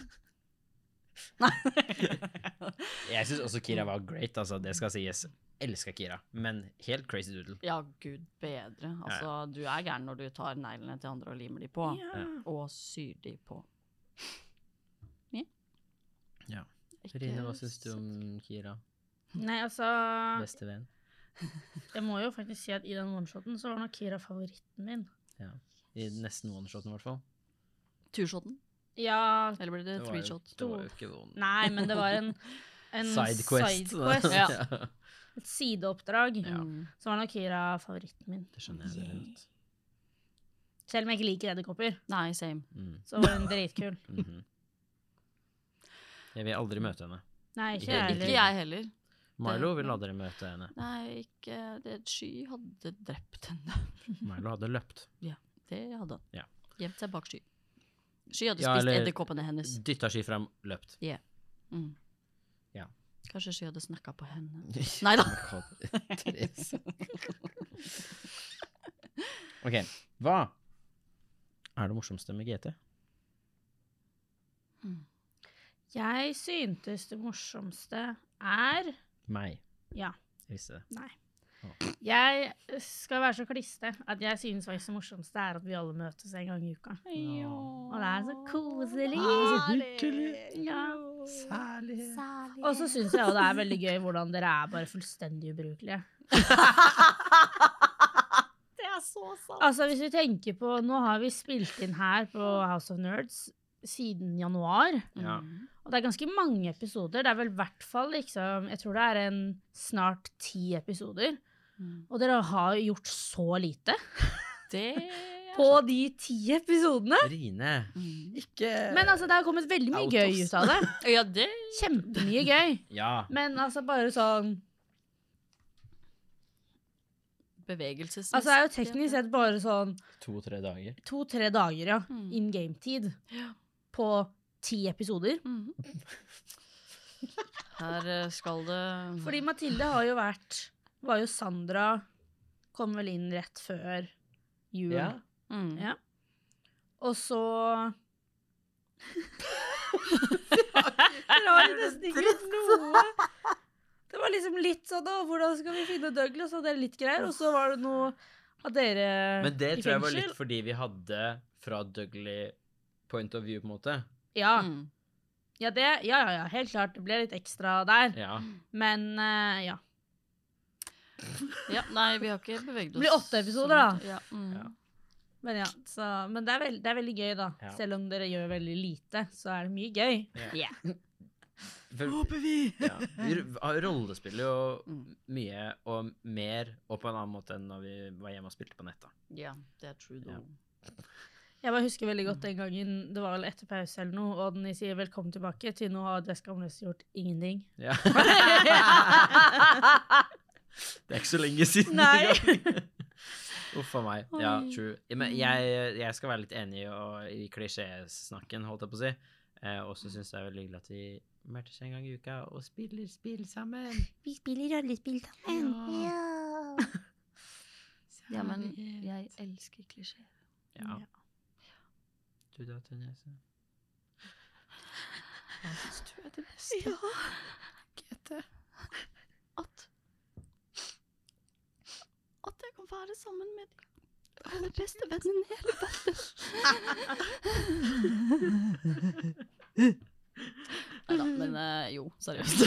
Jeg syns også Kira var great, altså. Det skal sies. Elska Kira, men helt crazy doodle.
ja, gud bedre. Altså, du er gæren når du tar neglene til andre og limer de på. Og syr de på. Ja.
Ja.
Ikke
Rine, hva syns du om
sant.
Kira?
Nei, altså
Beste venn?
Jeg må jo faktisk si at i den oneshoten så var nok Kira favoritten min.
I nesten one-shoten, i hvert fall.
Two-shoten?
Ja,
Eller blir det
var jo-
three-shot?
det var jo ikke one.
nei, men det var en, en
(laughs) Sidequest. (laughs)
sidequest,
Ja.
Et sideoppdrag.
Mm.
Så var nok Kira favoritten min.
Det skjønner jeg. veldig godt.
Selv om jeg ikke liker edderkopper,
Nei, same.
Mm.
så var hun dritkul.
mhm. Jeg vil aldri møte henne. (laughs)
Nei,
Ikke
ikke jeg
Ikke
heller.
jeg heller.
Milo vil aldri møte henne.
Nei, ikke det, Sky hadde drept henne.
Milo hadde løpt.
Det hadde han.
Ja.
Gjemt seg bak Sky. Sky hadde
Ja,
spist
eller-
edderkoppene hennes.
Dytta ski frem, (laughs) løpt.
Mm.
Ja.
Kanskje Sky hadde snakka på henne. Nei da.
Therese. (laughs) OK. Hva er det morsomste med GT?
Jeg syntes det morsomste er
Meg.
Ja.
Jeg visste det.
Jeg skal være så kliste at jeg synes faktisk det morsomste er at vi alle møtes en gang i uka. Og det er så koselig.
Ah,
Ja.
Salig.
Og så syns jeg jo det er veldig gøy hvordan dere er bare fullstendig ubrukelige.
Det er så sant.
Altså hvis vi tenker på, Nå har vi spilt inn her på House of Nerds siden januar.
Ja.
Mm.
Og det er ganske mange episoder. Det er vel i hvert fall liksom, Jeg tror det er en snart ti episoder.
Mm.
Og dere har jo gjort så lite.
Det
på de ti episodene.
Rine,
Mm.
ikke
Men altså, det har kommet veldig mye
Out,
gøy
ass.
ut av det.
Ja, det
Kjempemye gøy.
Ja.
Men altså, bare sånn
Bevegelsesmessig.
Altså, det er jo teknisk sett bare sånn
To-tre dager.
to-tre dager, ja.
Mm.
In game-tid. På ti episoder.
Mhm. Her eh, skal det
Fordi Mathilde har jo vært Var jo Sandra Kom vel inn rett før jul.
Ja.
Mm.
Ja. Og så Dere har nesten ikke gjort noe. Det var liksom litt sånn å, hvordan skal vi finne Douglas, og det er litt greier. Og så var det noe av dere
Men det
i
tror jeg var
fengsel.
litt fordi vi hadde fra Dougley point of view, på en måte.
Ja,
Mm.
ja, det, ja, ja, ja, helt klart. Det ble litt ekstra der.
Ja.
Men eh, ja.
ja. Nei, vi har ikke beveget oss.
Det blir åtte episoder,
sånn.
da.
Ja. Mm.
Ja.
Men, ja, så, men det, er veld, det er veldig gøy, da.
Ja.
Selv om dere gjør veldig lite, så er det mye gøy.
For,
vi!
ja.
(laughs)
Vi ro- rollespiller jo
Mm.
mye og mer og på en annen måte enn når vi var hjemme og spilte på nett. da.
Ja, det er true, da.
Ja.
Jeg bare husker veldig
Mm.
godt den gangen det var vel etter pause eller noe, og Denny sier 'velkommen tilbake', til nå har Desk Amnes gjort ingenting. (laughs)
Ja. Det er ikke så lenge
(laughs)
siden.
Nei.
engang. (laughs) Uff a meg. Ja,
Oi.
true. Men jeg, jeg skal være litt enig i, og- i klisjésnakken, holdt jeg på å si. Eh, og
Mm.
så syns jeg det er veldig hyggelig at vi møtes en gang i uka og spiller spill sammen.
Vi spiller rollespill sammen.
Ja.
Ja.
Ja, men jeg elsker klisjeer.
Ja. Du da, Tønnese?
Hva syns du er det beste? Ja. GT. At At jeg kan være sammen med de aller beste vennene i hele verden. Nei da, men eh, jo, seriøst.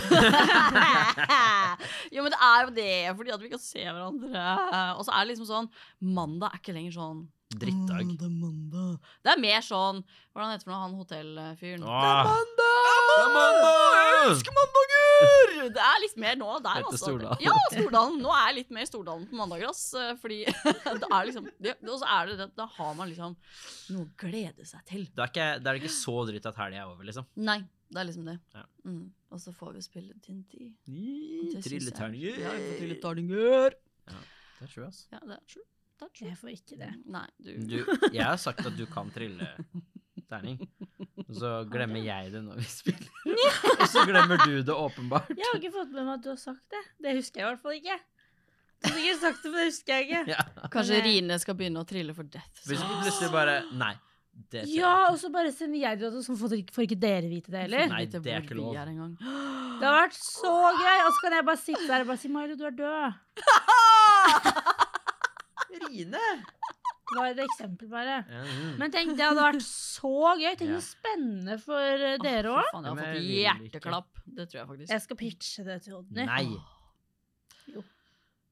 (laughs) jo, men det er jo det, fordi at vi kan se hverandre. Og så er det liksom sånn Mandag er ikke lenger sånn
Drittdag.
«Åh, det er mandag. Det er mer sånn Hvordan heter det nå, han hotellfyren?
Åh,
Det er
mandag!
Elsker mandager! (laughs) Det er litt mer nå der,
Dette
altså.
Stordalen.
Ja, Stordalen. Nå er jeg litt mer Stordalen på mandager, ass. eh, Fordi (laughs) da er liksom det, Og så er det det, da har man liksom noe å glede seg til.
Da er, ikke, da er det ikke så dritt at helga er over, liksom.
Nei, det er liksom det.
Ja.
Mm. Og så får vi spille DND. Det synes jeg-
Trilleterninger.
Ja, vi får trilleterninger.
Det er true, ass.
Ja, det er true. Det er true.
Jeg får ikke det.
Nei, du,
Du, jeg har sagt at du kan trille terning. Og så glemmer jeg det når vi spiller. (laughs) Og så glemmer du det åpenbart.
Jeg har ikke fått med meg at du har sagt det. Det husker jeg i hvert fall ikke. Du har sikkert sagt det, men det husker jeg ikke.
Ja.
Kanskje
Men, eh,
Rine skal begynne å trille for death.
Hvis du plutselig bare Nei. Det tør jeg
Ja,
ikke.
og så bare sender jeg det til oss, så får dere- får ikke dere vite det heller.
Nei,
Vite
det er
hvor
ikke
vi
lov.
er engang.
Det har vært så gøy! Og så kan jeg bare sitte der og bare si 'Mailo, du er død'.
Rine!
Det var et eksempel, bare.
Ja, mm.
Men tenk, det hadde vært så gøy. Tenk
Ja.
så spennende for eh, dere
Fy
òg.
faen,
Men
Jeg har fått
jeg vil ikke.
hjerteklapp. Det tror jeg faktisk.
Jeg skal pitche det til Odny.
Nei.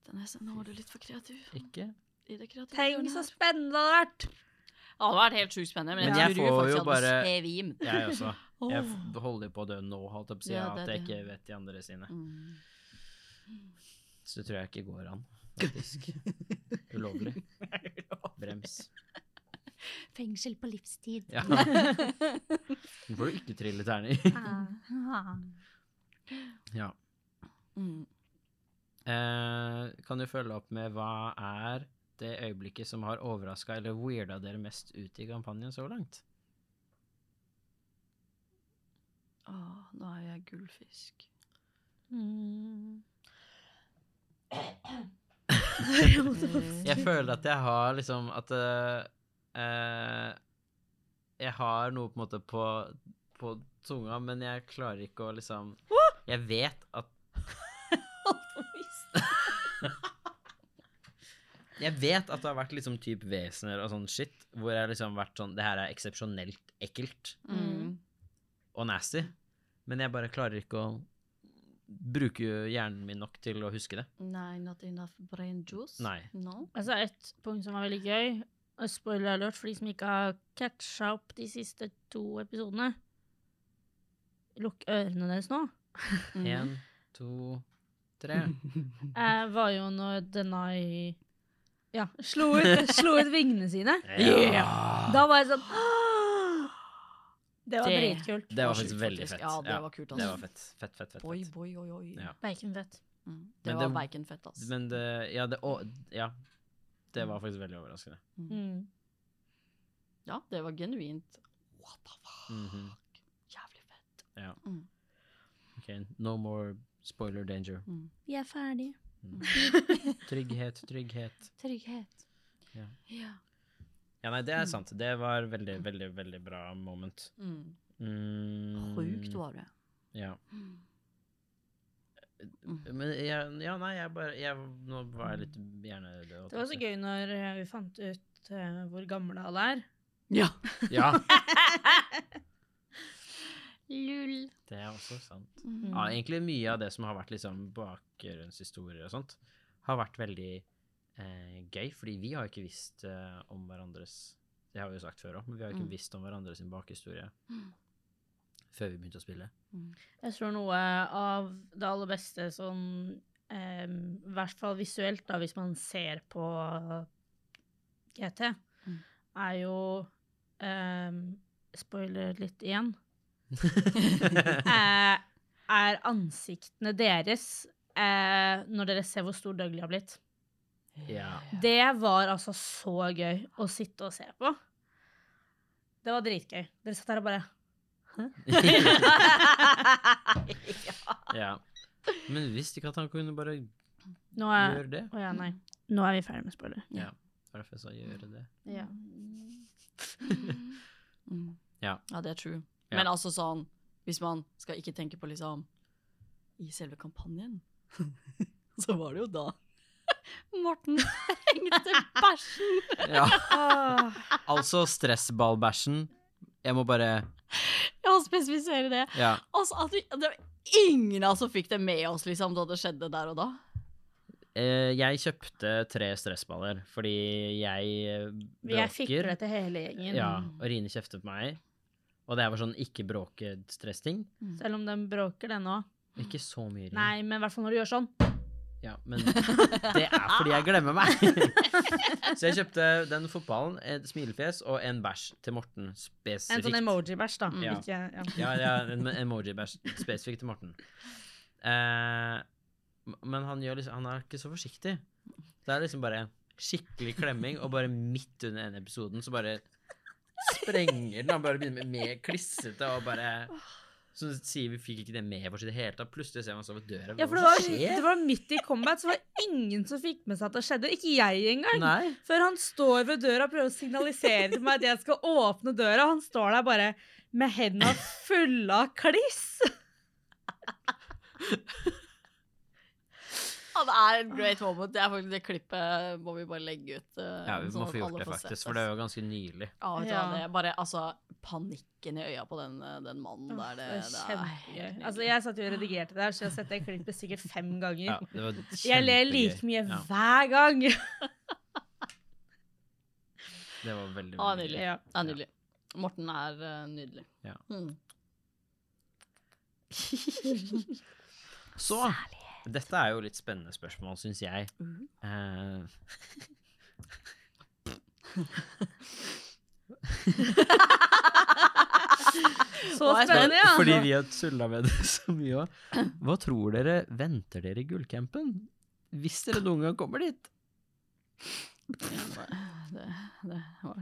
Dennis, nå var du litt for kreativ.
Ikke.
I det kreative
Tenk
hjørnet
så
her.
spennende det hadde vært!
Ja, det hadde vært helt sjukt spennende, men jeg,
Men jeg
tror jo
får
faktisk
jo
jeg hadde
bare-
svim.
Jeg også. Jeg
Åh.
f- holder på å dø nå, holdt jeg på å si,
Ja,
at
det er
jeg
det.
ikke vet de andre sine.
Mm.
Så det tror jeg ikke går an,
(laughs)
faktisk. Ulovlig. Brems.
(laughs) Fengsel på livstid. (laughs)
Ja. Nå får du ikke trille terning. Ja.
Mm.
Eh, kan du følge opp med hva er det øyeblikket som har overraska eller weirda dere mest ut i kampanjen så langt?
Åh, nå er jeg (laughs) gullfisk.
Mm.
Jeg
Eh,
føler at jeg har liksom at eh, eh, Jeg har noe på en måte på, på tunga, men jeg klarer ikke å liksom Jeg vet at (laughs) Jeg vet at det har vært liksom typ vesener og sånn shit, hvor jeg liksom har vært sånn Det her er eksepsjonelt ekkelt.
Mm.
og nasty, men jeg bare klarer ikke å bruke hjernen min nok til å huske det.
Nei, not enough brain juice?
Nei.
No?
Altså, et punkt som var veldig gøy, og spoiler alert for de som ikke har catcha opp de siste to episodene Lukk ørene deres nå.
Mm.
Én, to, tre.
Eh, var jo når Denai ja, slo, ut, slo ut vingene sine.
Ja.
Da var jeg sånn (gasps) «Åh!» Det var
Det-
dritkult.
Det var
sjukt,
faktisk veldig fett.
faktisk. Ja, det
Ja,
var kult,
Det
altså.
var fett. Fett, fett, fett.
Oi,
fett.
oi, oi, oi.
Ja.
Baconfett.
Mm. Det
Men
var
det-
baconfett, ass.
Men det Ja, det, å, ja. det var faktisk veldig overraskende.
Mm.
Ja, det var genuint. What the fuck?
Mhm.
Jævlig fett.
Ja.
Mm.
Ok, no more spoiler danger.
Vi er ferdige.
Trygghet, trygghet.
Trygghet.
Ja.
ja.
Ja, nei, det er sant. Det var veldig, veldig, veldig bra moment.
Mm.
Mm,
Sjukt var det.
Ja. Men jeg, ja, nei, jeg bare jeg, Nå var jeg litt hjernedød.
Det var så gøy når eh, vi fant ut eh, hvor gammel alle er.
Ja.
Ja,
Lul.
det er også sant.
Mm.
Ja, egentlig mye av det som har vært liksom bakgrunnshistorier og sånt, har vært veldig eh, gøy, fordi vi har jo ikke visst eh, om hverandres Det har vi jo sagt før òg, men vi har jo ikke
Mm.
visst om hverandres bakhistorie
Mm.
før vi begynte å spille.
Jeg tror noe av det aller beste sånn eh, I hvert fall visuelt, da, hvis man ser på GT,
Mm.
er jo eh, Spoiler litt igjen. (laughs) (laughs) Eh, er ansiktene deres eh, når dere ser hvor stor Dougley har blitt.
ja.
Det var altså så gøy å sitte og se på. Det var dritgøy. Dere satt der og bare
(laughs)
(laughs)
ja. Men visste ikke at han kunne bare
Nå er,
gjøre det.
Å ja, nei. Nå er vi ferdig med spoiler.
Ja. Derfor jeg sa gjøre
(laughs)
det.
Ja.
(laughs) Mm.
Ja.
ja, det er true.
Ja.
Men altså sånn, hvis man skal ikke tenke på liksom i selve kampanjen, (laughs) så var det jo da (laughs) Morten sprengte bæsjen.
Ja.
Ah.
Altså stressballbæsjen. Jeg må bare
Jeg må spesifisere det.
Ja.
Altså, at vi, det var ingen av oss som fikk det med oss liksom, da det skjedde der og da.
Eh, jeg kjøpte tre stressballer fordi jeg eh,
Jeg fikk
bråker.
det til hele gjengen.
Ja, og Rine kjeftet på meg. Og det her var sånn ikke bråke stressting.
Selv om den bråker, den òg.
Ikke så mye, Rine.
Mm. Nei, men i hvert fall når du gjør sånn.
Ja, men det er fordi jeg glemmer meg. (laughs) Så jeg kjøpte den fotballen, et smilefjes og en bæsj til Morten spesifikt.
En sånn emoji-bæsj, da.
Ja.
Ikke, ja.
Ja, ja en emoji-bæsj spesifikt til Morten. Eh, m- men han, gjør liksom, han er ikke så forsiktig. Det er liksom bare skikkelig klemming, og bare midt under en episoden så bare sprenger den. Han bare begynner med mer klissete og bare Så sier vi fikk ikke det med oss i det hele tatt. Plutselig ser man så ved døra.
Ja, for det
hva
var,
skjer?
det var midt i combat, så var det ingen som fikk med seg at det skjedde. Ikke jeg engang.
Nei.
Før han står ved døra og prøver å signalisere til meg at jeg skal åpne døra. Han står der bare med hendene fulle av kliss.
Ja, det er et great moment. Det, er faktisk, det klippet må vi bare legge ut. eh,
Ja, vi
sånn
må
at
få gjort
alle
det,
får sett
faktisk, for det er
altså.
jo ganske nylig.
Ja, vet du
Ja.
hva, det er bare altså, panikken i øya på den, eh, den mannen der. Det, det er
kjempegøy.
helt nydelig.
Altså, jeg satt jo og redigerte der, så jeg har sett det klippet sikkert fem
Ja,
ganger.
det var
Jeg ler
kjempegøy.
like
Ja,
mye hver gang. (laughs)
det var veldig,
Ah,
veldig gøy.
Ja.
Det er nydelig. Morten er eh, nydelig.
Ja.
Mm.
Så Dette er jo litt spennende spørsmål, syns jeg.
Mm.
Eh,
Så spennende, altså. ja.
Fordi vi har tulla med det (laughs) så mye òg.
(clears throat)
Hva tror dere venter dere i gullcampen? Hvis dere noen gang kommer dit?
Det, det var det, da.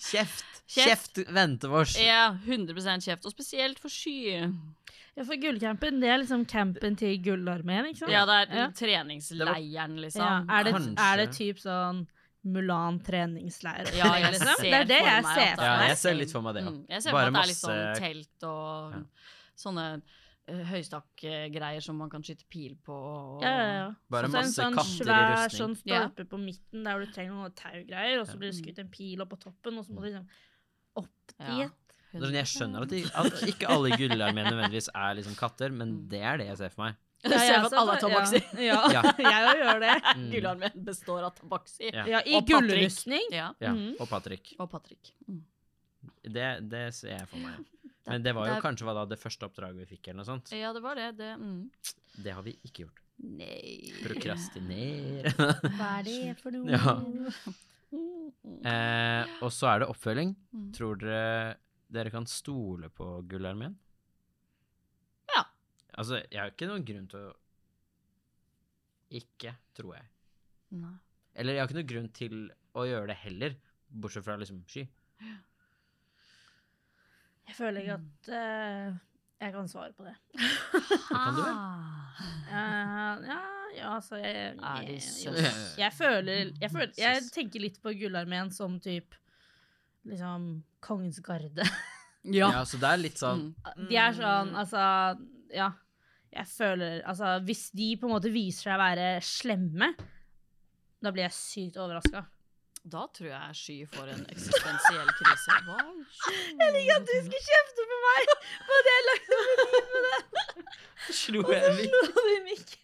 Kjeft!
Kjeft.
Kjeft ventevors!
(laughs) Ja, 100 kjeft. Og spesielt for sky.
Ja, for gullcampen, det er liksom campen til gullarmeen, ikke sant?
Ja, det er
Ja.
treningsleiren,
Ja,
liksom.
er, det,
Kanskje.
er det typ sånn Mulan treningsleir?
Ja,
(laughs)
jeg ser
Det er det
for
jeg
meg
ser
at
for
Ja,
meg.
jeg ser litt for meg det, ja.
Mm, jeg ser
Bare
for meg at det er litt
masse-
sånn telt og
Ja.
sånne eh, høystakkgreier som man kan skyte pil på. Og,
Ja, ja, ja.
Bare
Så
masse
en sånn
katter i
svær
rustning.
sånn stolpe på midten der du trenger noe taugreier, og så blir
Ja.
det skutt en pil opp på toppen, og så må du liksom opp dit. (laughs)
Ja.
Det er sånn, Jeg skjønner at, de, at ikke alle i gullarmeen nødvendigvis er liksom katter, men
Mm.
det er det jeg ser
(laughs)
for meg.
Du ser for at alle er
Ja, jeg ser
tabaksi. (laughs)
for- Ja, ja. jeg gjør det.
Mm.
Gullarmeen består av tabaksi.
Ja.
Ja, I
Og Patrick.
gullrustning.
Ja.
Ja,
Mhm.
og Patrick.
Og Patrick. Mm.
Det, det ser jeg for meg. Men det var jo
Det er-
kanskje hva da det første oppdraget vi fikk, eller noe sånt.
Ja, det var det. det mm.
Det har vi ikke gjort.
Nei.
Prokrastinere.
(laughs) Hva er det for noe?
Ja. eh, og så er det oppfølging.
Mm.
Tror dere dere kan stole på Gullarmeen?
Ja.
Altså, jeg har ikke noen grunn til å ikke, tror jeg.
Nei.
Eller jeg har ikke noen grunn til å gjøre det heller, bortsett fra liksom sky.
Jeg føler ikke at eh, jeg kan svare på det.
Det kan du vel?
Ah.
Eh, ja, ja, altså jeg,
Er det
jeg,
(laughs)
jeg,
søs?
føler, jeg føler Jeg tenker litt på Gullarmeen som typ Liksom kongens garde.
Ja.
Ja.
så det er litt sånn
Mm.
De er sånn, altså Ja. Jeg føler Altså, hvis de på en måte viser seg å være slemme, da blir jeg sykt overraska.
Da tror jeg Sky får en eksistensiell krise. Hva? Jeg liker at du
Ikke kjefte på meg! På det jeg lagde
(laughs) Slo jeg
(laughs)
litt.
på din mikk.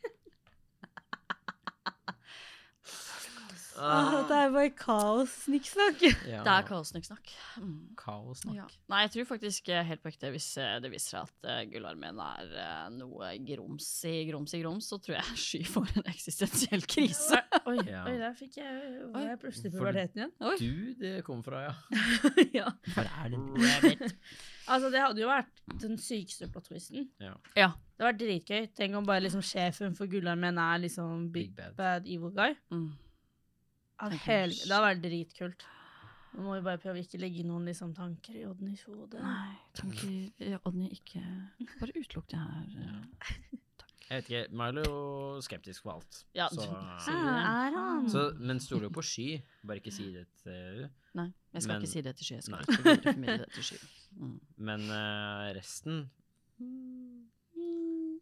Ah.
Dette er bare kaos, (laughs) snikksnakk.
Ja.
Det er kaosnakk-snakk. Mm.
kaosnakk.
Ja. Nei, jeg tror faktisk eh, helt på ekte, hvis eh, det viser seg at eh, Gullarmeen er eh, noe grums i grums i grums, så tror jeg Sky får en eksistensiell krise.
Oi,
Ja.
oi, der fikk jeg, var
Oi.
jeg plutselig i
For-
puberteten igjen.
Oi.
Du, det kom fra, ja. (laughs)
ja.
Hvor er det?
Rabbit.
Altså, det hadde jo vært den sykeste plot-twisten.
Ja.
Ja.
Det var dritgøy. Tenk om bare liksom sjefen for Gullarmeen er liksom Big
Big Bad.
Bad Evil Guy.
Mm.
Ja,
Tenk om-
hel- Det hadde vært dritkult. Nå må vi bare prøve å ikke legge noen liksom, tanker i Oddnys hode.
Nei, kan ikke eh, Odny ikke Bare utelukk det her. eh.
Jeg vet ikke, Milo er jo skeptisk på alt.
Ja,
så,
du-
så,
Hæ? er
han?
men stoler jo på sky. Bare ikke si det til
Nei, jeg skal
Men-
ikke si det til Sky. Jeg skal
Nei.
ikke videreformidle det til Sky.
(laughs)
Mm.
Men eh, resten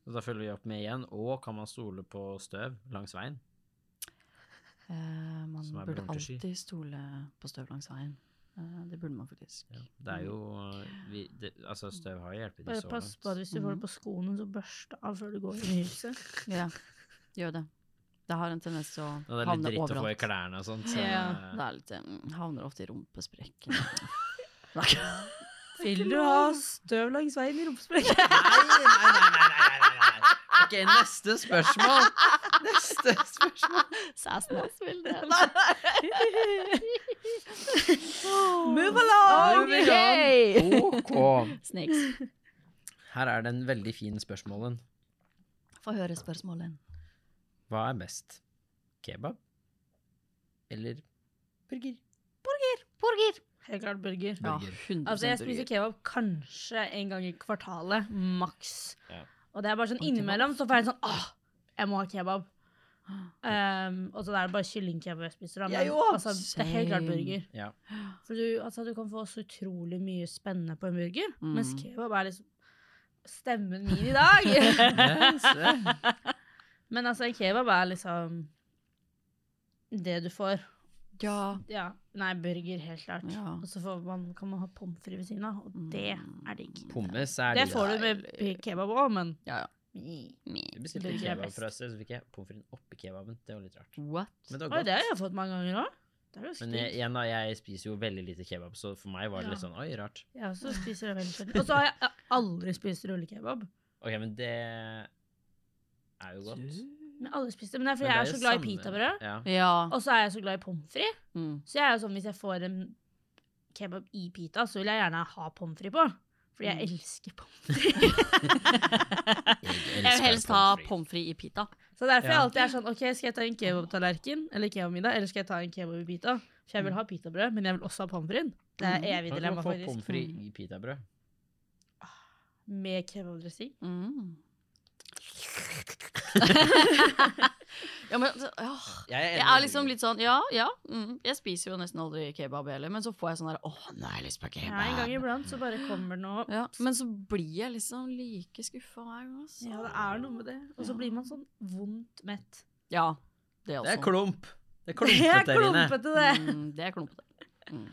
Og Da følger vi opp med igjen. Og kan man stole på støv langs veien?
Eh, man
Som er
burde
broren til Sky.
alltid stole på støv langs veien. Eh, det burde man faktisk.
Det er jo eh, vi, det, Altså, støv har jo hjulpet de
Bare
så
pass på at
langt.
hvis du får det på skoene, så børste av før du går inn i huset.
Ja, gjør det. Det har en tendens til å
Og det er litt
havne
dritt å få i
overalt.
klærne og sånt. Så,
Ja,
(laughs)
det er litt, mm, havner ofte i rumpesprekken. Nei.
Vil du ha støv langs veien i rumpesprekken?
Nei, nei, nei, nei, nei, nei, nei. Ok, neste spørsmål. Neste spørsmål.
Sass
altså.
vil det.
(laughs) Move along!
OK.
Snakes.
Her er den veldig fine spørsmålen.
Få høre spørsmålet.
Hva er best? Kebab eller burger?
Burger.
Helt klart burger.
Ja,
Burger.
100
Altså, jeg spiser
burger.
kebab kanskje en gang i kvartalet, maks.
Ja.
Og det er bare sånn
Og kebab.
innimellom så får jeg sånn åh, jeg må ha kebab. Um, og så er det bare kyllingkebab jeg spiser, da. Men altså, det er helt klart
Same.
burger.
Ja.
For du, altså, du kan få så utrolig mye spennende på en burger,
Mm.
mens kebab er liksom stemmen min i dag.
(laughs)
Yes, eh.
Men altså, en kebab er liksom det du får.
Ja.
Ja. Nei, burger, helt klart.
Ja. Mm.
Og så får man, kan man ha pommes frites ved siden av, og det er digg.
Pommes er
Det
de-
får du med kebab òg, men
Ja, ja.
Jeg bestilte
Burger er
kebab
best. Mm.
fra et sted, så fikk jeg pommes frites oppi kebaben. Det var litt rart.
What?
Men det
Oi,
var
det
godt.
har jeg fått mange ganger òg. Det er jo
Men jeg,
skummelt.
igjen da, jeg spiser jo veldig lite kebab, så for meg var det litt
Ja.
sånn oi, rart.
Jeg også spiser det veldig sjelden. Og så har jeg jeg har aldri spist rullekebab.
Ok, men det er jo godt.
Men jeg har aldri spist det, men det er fordi
Men
jeg
det
er
jo
så glad i
samme-
pitabrød.
Ja.
Ja.
Og så er jeg så glad i pommes frites.
Mm.
Så jeg er jo sånn, hvis jeg får en kebab i pita, så vil jeg gjerne ha pommes frites på. Fordi
Mm.
jeg elsker pommes frites. (laughs)
Jeg vil helst ha pommes frites i pita.
Så derfor
Ja.
jeg alltid er sånn OK, skal jeg ta en kebabtallerken eller kebabmiddag, eller skal jeg ta en kebab i pita?
Mm.
For jeg vil ha pitabrød, men jeg vil også ha pommes frites. Det er evig
Kan ikke
dilemma,
man få pommes
faktisk.
frites i pitabrød?
Med kebabdressing.
Mm. (laughs) ja, men så- åh.
Jeg
Jeg er liksom litt sånn Ja, ja. Mm. Jeg spiser jo nesten aldri kebab heller, men så får jeg sånn der Åh, nå har jeg lyst på
Ja, en gang
kebab.
iblant så bare kommer det noe
Ja, men så blir jeg liksom like skuffa hver gang. Altså.
Ja, det er noe med det. Og så
Ja.
blir man sånn vondt mett.
Ja,
Det
det også.
er klump. Det er
(laughs) Jeg er
klumpete der inne.
sånn klumpete, det.
Mm, det er klumpete. Mm.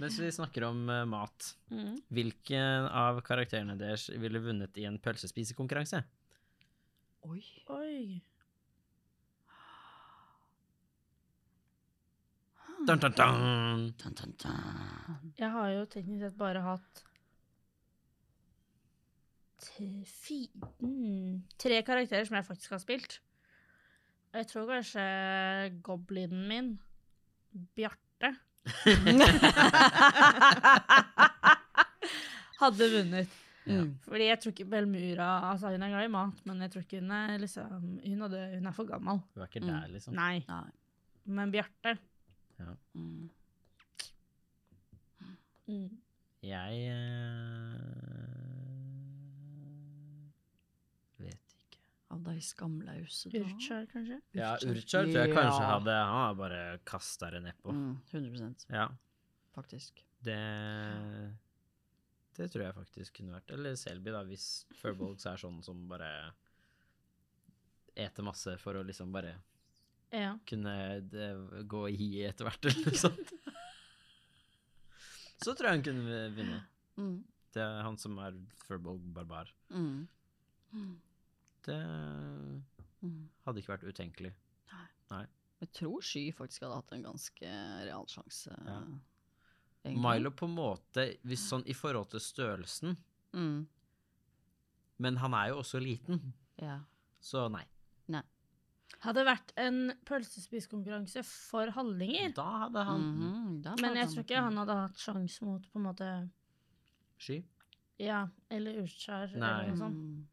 Mens vi snakker om eh, mat, hvilken av karakterene deres ville vunnet i en pølsespisekonkurranse?
Oi.
Oi. Hmm.
Dun, dun, dun.
Dun, dun, dun.
Jeg har jo teknisk sett bare hatt t- fi, mm, tre karakterer som jeg faktisk har spilt. Og Jeg tror kanskje goblinen min, Bjarte, hadde vunnet.
Mm.
Fordi jeg tror ikke Belmura altså Hun er glad i mat, men jeg tror ikke hun er liksom Hun, hadde, hun er for gammel.
Hun er ikke
Mm.
der, liksom.
Nei.
Nei.
Men Bjarte
Mm.
Jeg eh, vet ikke.
Av deg skamlause da.
Urchar, kanskje?
Ja,
Urchar.
Urchar tror jeg kanskje
Ja.
hadde Han har bare kasta det nedpå.
Mm, 100
Ja,
faktisk.
det Det tror jeg faktisk kunne vært. Eller Selby, da, hvis Furbolgs er sånn som bare eter masse for å liksom bare
Ja.
kunne det, gå i hi etter hvert, eller noe sånt. Så tror jeg han kunne vinne.
Mm.
Det er han som er Furbolg barbar.
Mm.
Det
Mm.
hadde ikke vært utenkelig.
Jeg tror Sky faktisk hadde hatt en ganske real sjanse.
Ja.
egentlig.
Milo på en måte, hvis sånn i forhold til størrelsen,
Mm.
men han er jo også liten,
Ja.
så nei.
Hadde vært en pølsespisekonkurranse for hallinger.
Da hadde han
Mhm, da
Men
hadde
jeg tror ikke han hadde hatt sjanse mot på en måte
sky.
Ja, eller Urskjær
Nei.
eller noe sånt.
Mm.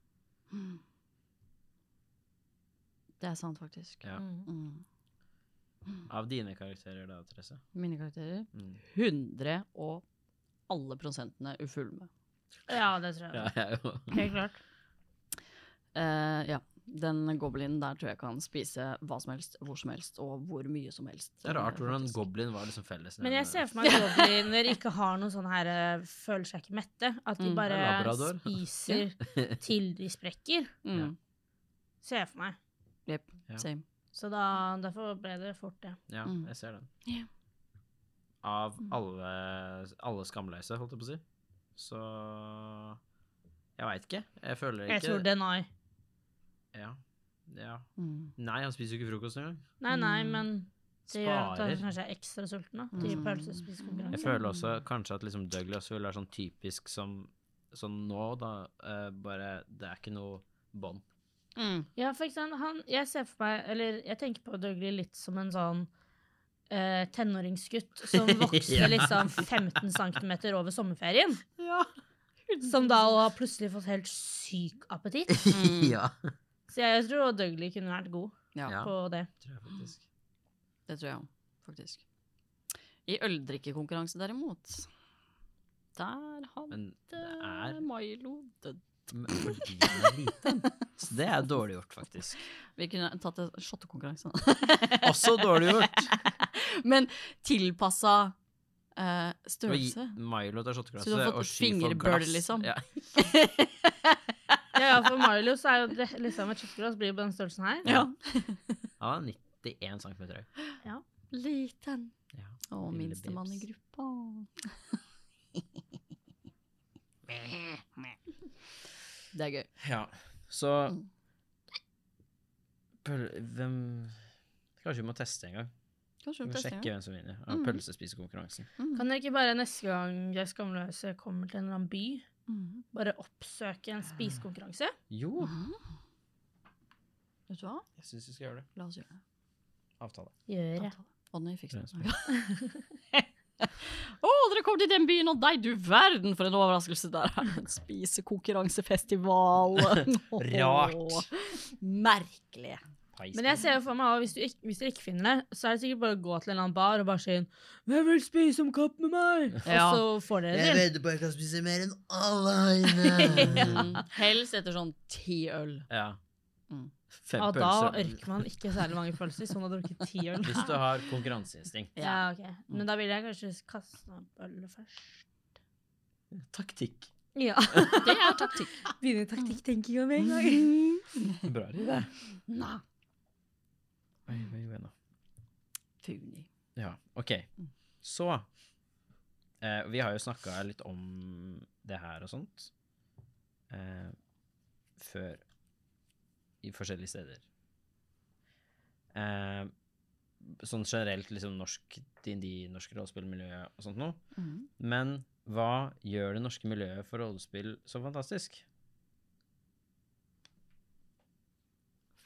Mm. Det er sant, faktisk.
Ja.
Mm.
Mm.
Av dine karakterer da, Therese?
Mine karakterer
Mm.
100 og alle prosentene ufullme.
Ja, det tror jeg.
Ja, jeg jo. (laughs)
Helt klart.
Eh, ja. Den goblinen der tror jeg kan spise hva som helst, hvor som helst, og hvor mye som helst.
Det er rart
eh,
hvordan
faktisk.
goblin var liksom felles.
Men jeg ser for meg at gobliner ikke har noe sånn her eh, føler seg ikke mette. At de
Mm.
bare
Labrador. (laughs)
spiser til de sprekker,
Mm.
ser jeg for meg.
Jep,
Ja.
same.
Så da, derfor ble det fort det.
Ja,
Mm.
jeg ser den.
Ja.
Av
Mm.
alle, alle skamløse, holdt jeg på å si. Så Jeg veit ikke. Jeg føler ikke
Jeg tror deny.
Ja. ja.
Mm.
Nei, han spiser jo ikke frokost engang.
Nei, nei,
Mm.
men det gjør at
Sparer.
han kanskje er ekstra sulten da, til
Mm.
Jeg
pølsespisekonkurranse.
føler også kanskje at liksom Douglas vil være sånn typisk som sånn nå, da. eh, bare Det er ikke noe (laughs) bånd.
Mm.
Ja, for eksempel, han, jeg ser for meg, eller jeg tenker på Dougley litt som en sånn eh, tenåringsgutt som
(laughs)
vokser
Ja.
liksom 15 cm over sommerferien. Som da også har plutselig fått helt syk appetitt.
Mm.
ja.
Så jeg tror Dougley kunne vært god
Ja,
Ja,
på det.
tror jeg faktisk.
det tror jeg òg, faktisk. I øldrikkekonkurranse, derimot, der hadde
Men det er
Milo dødd.
men fordi den er liten. Så det er dårlig gjort, faktisk.
Vi kunne tatt en shottekonkurranse.
(laughs) Også dårlig gjort.
(laughs) Men tilpassa
Du
eh,
har gi-
størrelse.
Milo tar shotteglasset,
Så du har fått
og
et
ski får
fingerbøl,
glass.
liksom? (laughs)
Ja.
Ja, ja, for Mario så er jo det, liksom et kjøttglass blir jo på den størrelsen her.
Ja. (laughs) Han er 91 cm høy.
Liten.
Ja.
Og
Lille
minstemann i
babes.
gruppa. Det er gøy.
Ja, så
Mm.
Pøl, Hvem Kanskje vi må teste en gang.
Kanskje
Vi
vi
må
tester,
sjekke
ja.
hvem som vinner av
Mm.
pølsespisekonkurransen.
Mm.
Kan dere ikke bare neste gang jeg skamløse kommer til en eller annen by,
Mm.
bare oppsøke en spisekonkurranse?
Jo,
Ah.
Mhm. Vet du hva?
jeg syns vi skal gjøre det.
La oss gjøre det.
Avtale.
Gjør det.
Ånden fikk
Ja,
det. (laughs) Å, dere kom til den byen, og deg, du verden, for en overraskelse. (laughs) Der er det en (laughs) spisekonkurransefestival.
Rart.
Merkelig.
Peis.
Men jeg ser jo for meg også, hvis, du ikke, hvis dere ikke finner det, så er det sikkert bare å gå til en eller annen bar og bare si 'Hvem vil spise om kapp med meg?'
Ja.
Og så får dere det.
bare kan spise mer enn
(laughs)
alle øyne.
Mm. Helst etter sånn ti øl.
ja.
Mm.
Fem
Ja, da
pølser.
orker man ikke særlig mange pølser, så man har drukket ti
(laughs)
øl.
Hvis du har konkurranseinstinkt.
Ja, ok. Men da vil jeg kanskje kaste meg ølet først.
Taktikk.
Ja.
Det er taktikk.
(laughs) Begynne taktikktenkinga med en gang.
Bra idé.
Nei.
Oi, hva gjorde jeg nå?
Funi.
Ja, OK. Så eh, Vi har jo snakka litt om det her og sånt eh, før i forskjellige steder. Eh, sånn generelt liksom norsk D&D, norsk rollespillmiljø og sånt
Mm.
noe. Men hva gjør det norske miljøet for rollespill så fantastisk?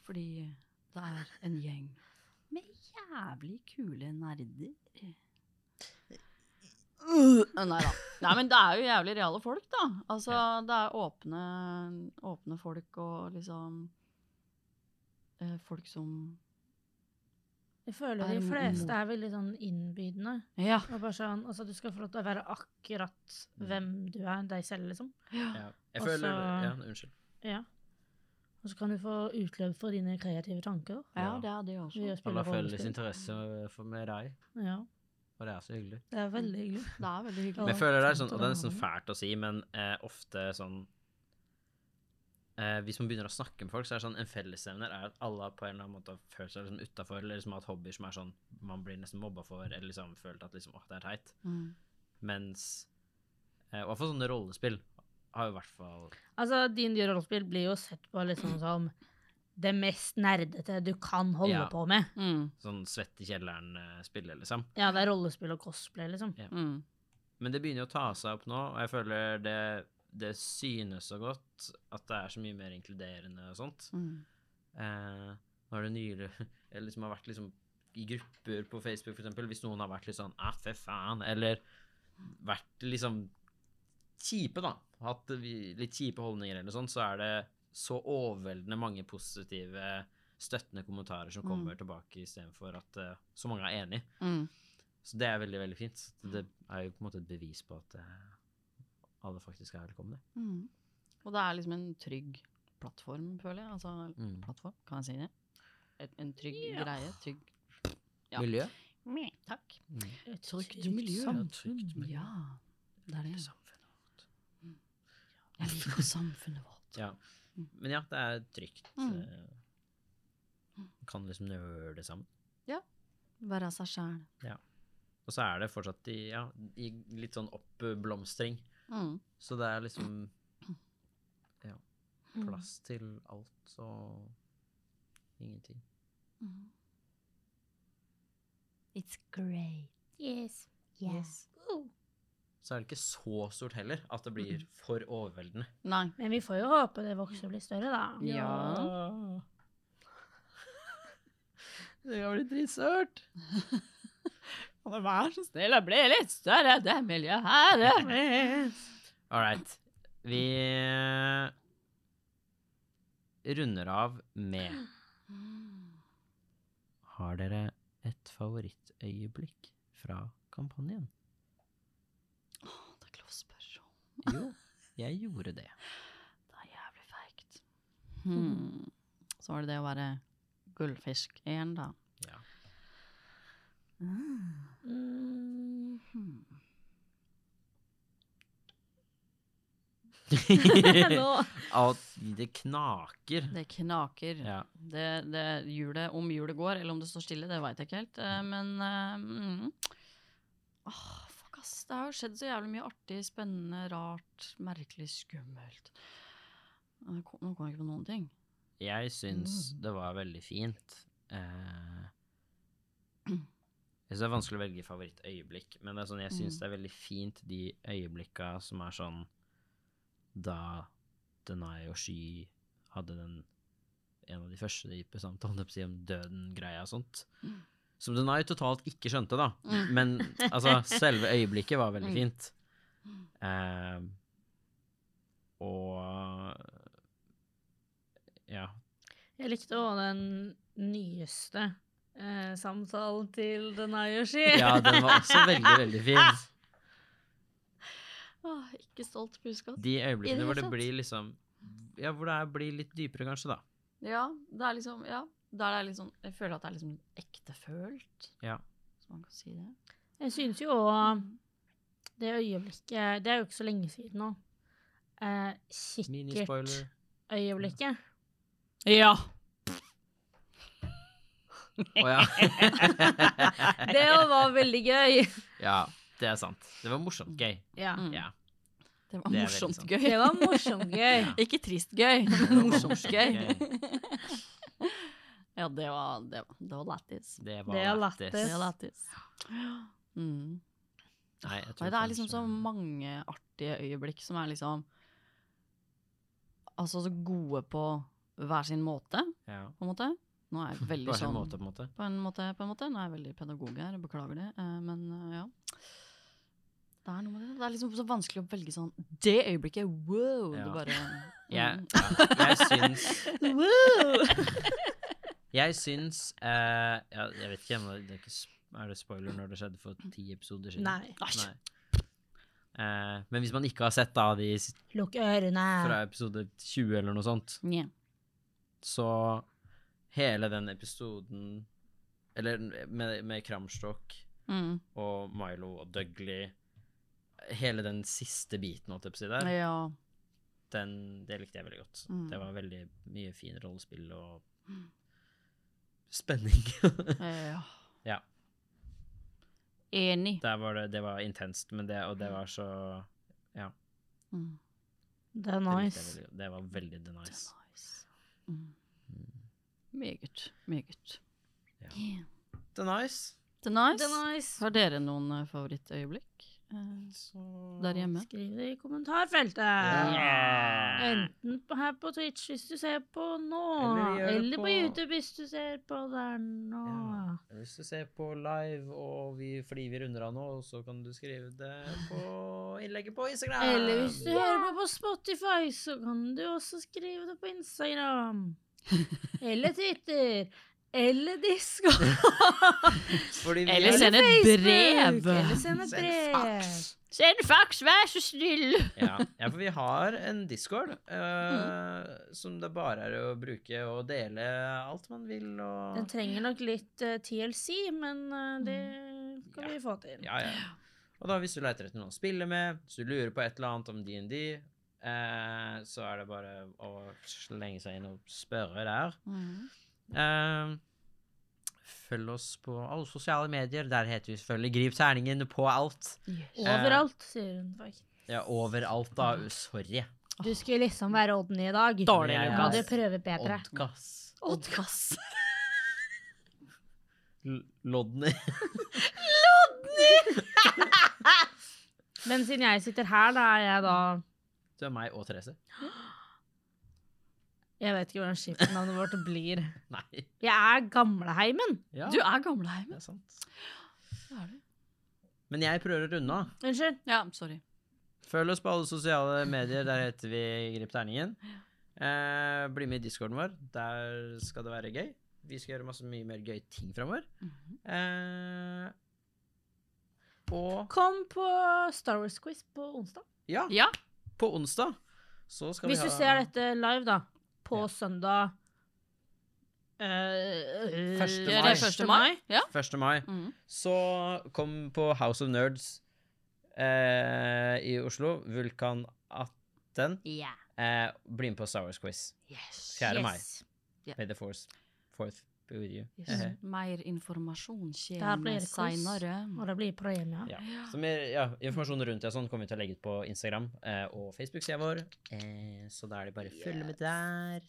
Fordi det er en gjeng med jævlig kule nerder. Eh, Nei da. Nei, men det er jo jævlig reale folk, da. Altså, det er åpne, åpne folk og liksom eh, Folk som
Jeg føler
Er
de
det noe
fleste
imot?
er veldig sånn innbydende.
Ja.
Og bare sånn, altså Du skal få lov til å være akkurat hvem du er, deg selv, liksom.
Ah,
Ja. Jeg
Og
føler
så-
Ja, unnskyld.
Ja. Og så kan du få utløp for dine kreative tanker.
ja, det er det også.
ved å
Alle
spille
har felles
rollespill.
interesse for med deg,
Ja,
og det er så hyggelig.
det er veldig hyggelig.
Det er veldig hyggelig.
Ja.
Men jeg føler det er sånn,
sant, og
og det er
det har
nesten
vi.
fælt å si, men eh, ofte sånn eh, Hvis man begynner å snakke med folk, så er det sånn en fellesevner er at alle har på en eller annen måte har følt seg liksom utafor, eller liksom har hatt hobbyer som er sånn man blir nesten mobba for, eller liksom følt at liksom, åh, det er teit.
Mm.
Mens eh, I hvert fall sånne rollespill har jo i hvert fall
Altså, Din dyre rollespill blir jo sett på liksom som det mest nerdete du kan holde
Ja.
på med.
Mm.
sånn svett i kjelleren-spill, liksom.
Ja, det er rollespill og cosplay, liksom.
Mm.
Men det begynner jo å ta seg opp nå, og jeg føler det, det synes så godt at det er så mye mer inkluderende og sånt.
Mm.
Eh, nå er det nyere (laughs) Eller liksom har vært liksom i grupper på Facebook, for eksempel, hvis noen har vært litt sånn ah, fy faen, eller vært liksom kjipe, da. Hatt vi- litt kjipe holdninger eller sånn, så er det så overveldende mange positive støttende kommentarer som kommer tilbake istedenfor at eh, så mange er enig.
Mm.
Så det er veldig, veldig fint. Så Det er jo på en måte et bevis på at eh, alle faktisk er velkomne.
Mm. Og det er liksom en trygg plattform, føler jeg. Altså,
Mm.
plattform, kan jeg si det? Et, en trygg greie. Trygg Ja.
Miljø?
Meh.
Takk.
Mm.
Et
Trygt miljø.
samfunn.
Trygt miljø.
Ja, det er det.
Samfunnet.
Jeg liker samfunnet vårt.
Ja. Men ja, det er trygt.
Mm.
eh, Kan liksom nøle sammen.
Være seg sjæl.
Og så er det fortsatt i, ja, i litt sånn oppblomstring.
Mm.
Så det er liksom ja,
Mm.
plass til alt og ingenting.
Mm. It's great.
Yes.
Yes.
Så er det ikke så stort heller at det
Mm.
blir for overveldende.
Nei.
Men vi får jo håpe det vokser og blir større, da.
Ja.
Det kan bli
(laughs)
dritsørt.
Vær så snill og bli litt større, det miljøet her.
All right. Vi runder av med Har dere et favorittøyeblikk fra kampanjen?
Det er lov å spørre om.
Jo, jeg gjorde
(laughs)
det.
Det er jævlig feigt. Hmm. Så var det det å være gullfisk igjen, da.
Ja.
Mm.
(laughs)
(laughs) Nå.
At det knaker.
Det knaker.
Ja.
Det, det hjulet, om hjulet går, eller om det står stille, det veit jeg ikke helt. eh, Men eh, mm. Åh, Fuck, ass. Det har jo skjedd så jævlig mye artig, spennende, rart, merkelig, skummelt. Nå kom nå kom jeg ikke på noen ting.
Jeg syns det var veldig fint. Eh, jeg syns det er vanskelig å velge favorittøyeblikk, men det er sånn, jeg syns det er veldig fint de øyeblikka som er sånn Da Denai og Sky hadde den en av de første dype samtalene holdt jeg på å si, om døden-greia og sånt. Som Denai totalt ikke skjønte, da. Men altså, selve øyeblikket var veldig fint. Eh, og ja,
Jeg likte òg den nyeste eh, samtalen til
(laughs)
Denayoshi.
Ja, den var også veldig, veldig fin.
Åh, ikke stolt buskatt.
De
I
øyeblikkene
det
hvor det
hele
blir liksom Ja, hvor det er- blir litt dypere, kanskje, da.
Ja, det er liksom Ja. Der det er litt sånn, jeg føler at det er liksom ektefølt,
Ja.
hvis man kan si det.
Jeg syns jo òg det øyeblikket Det er jo ikke så lenge siden nå. Eh,
(laughs)
Minispoiler. (laughs)
Kikkert-øyeblikket.
Ja!
Å ja. (laughs)
Det òg var veldig gøy.
ja. Det er sant. Det var morsomt gøy.
Ja.
Mm.
Ja.
Det var
Det er veldig sånn.
morsomt
sant.
gøy.
Det var
(laughs)
morsomt gøy.
Ikke trist gøy, (laughs)
Det var
men morsomt
morsomt
gøy.
gøy.
ja, det var, det var, det var lættis.
Det var
Det er
Det
lættis.
lættis.
var lættis. Mm.
Nei, jeg tror
Nei, det er liksom
kanskje-
så mange artige øyeblikk som er liksom Altså så gode på hver sin måte,
Ja.
på en måte. Nå er jeg veldig
(laughs) På en
sånn
måte, på en måte.
På en måte, på en måte. Nå er jeg veldig pedagog her, beklager det. eh, Men eh, ja. Det er noe med det. Det er liksom så vanskelig å velge sånn Det øyeblikket, wow!
Ja.
Du bare
Jeg,
mm.
(laughs) ja, jeg syns
Wow!
Jeg syns eh, ja, Jeg vet ikke om det det er, ikke, sp- er det spoiler når det skjedde for ti episoder siden?
(laughs) Nei.
Nei. Eh, men hvis man ikke har sett da de s-
Lukk ørene.
fra episode 20 eller noe sånt,
Nja.
så hele den episoden Eller med, med Kramstok
Mm.
og Milo og Dougley Hele den siste biten, holdt jeg på å si der,
Ja.
den, det likte jeg veldig godt.
Mm.
Det var veldig mye fin rollespill og spenning. (laughs)
Ja.
Ja.
Enig.
Der var det, det var intenst, men det, og det var så
Mm.
Det
det
er
likte jeg
nice.
veldig godt. Det var veldig the nice.
Nice. Mm. Meget. Meget.
Ja.
Yeah.
The nice.
The nice.
Det er nice.
Har dere noen eh, favorittøyeblikk eh, der hjemme?
Skriv det i kommentarfeltet. Enten på- her på Twitch hvis du ser på nå,
Eller gjør
eller,
det
på...
på-
YouTube hvis du ser på der nå.
Ja. Hvis du ser på live, og vi, fordi vi runder av nå, så kan du skrive det på innlegget på Instagram.
Eller hvis du hører på på Spotify, så kan du også skrive det på (laughs) Instagram. Eller Twitter. Eller Discord.
Fordi vi
Eller
er-
send et brev.
Facebook, Eller send et
Send
brev.
Send fax, vær så snill!
ja. ja, for vi har en discord eh,
Mhm.
som det bare er å bruke og dele alt man vil. Og...
Den trenger nok litt eh, TLC, men eh, det kan
Ja.
vi få til.
Ja, ja. Og da hvis du leter etter noen å spille med, hvis du lurer på et eller annet om D&D, eh, så er det bare å slenge seg inn og spørre der.
Mm.
Eh, følg oss på alle sosiale medier. Der heter vi selvfølgelig Grip terningen på alt.
Eh, Overalt, sier hun faktisk.
Ja, overalt da. Sorry.
Du skulle liksom være Odny i dag.
Dårlig,
Ja, ja.
Kan du prøve bedre?
Oddgass.
Oddkass.
(laughs) L- Lodny.
Men siden jeg sitter her, da er jeg da
Du er meg og Therese.
Jeg vet ikke hvordan skipsnavnet vårt blir.
Nei.
Jeg er gamleheimen.
Ja,
Du er gamleheimen.
det er sant. Men jeg prøver å runde av.
Unnskyld.
Ja, sorry.
Følg oss på alle sosiale medier. Der heter vi Grip terningen. Eh, bli med i discorden vår. Der skal det være gøy. Vi skal gjøre masse mye mer gøy ting framover.
Mhm.
Eh, og
Kom på Star Wars-quiz på onsdag.
ja,
Ja.
på onsdag så skal
Hvis
vi
du
ha
ser dette live, da, på
Ja.
søndag eh,
Første
Det er
mai.
det 1. mai. Ja.
1. mai,
Mm.
Mhm.
så kom på House of Nerds eh, i Oslo. Vulkan 18.
Ja.
Eh, bli med på Star Wars Quiz. 4. mai.
Ja.
May the force. Fourth be with you.
Yes.
Eh,
Mer informasjon
Der blir
kommer
det quiz,
seinere.
og det blir premie.
Ja. Så mer ja, informasjon rundt det og sånn kommer vi til å legge ut på Instagram eh, og Facebook-sida vår. Eh, så da er det bare å følge med der.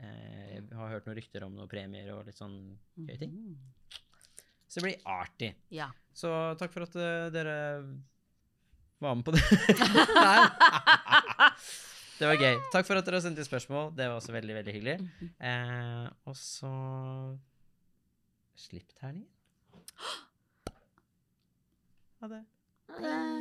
Eh, jeg har hørt noen rykter om noen premier og litt sånn gøye ting.
Mm.
Så det blir artig.
Ja.
Så takk for at eh, dere var med på det. (laughs) Nei. det var gøy. Takk for at dere har sendt inn spørsmål. Det var også veldig, veldig hyggelig.
(laughs)
Eh, og så Slipp terningen. Ha det.
Ha det.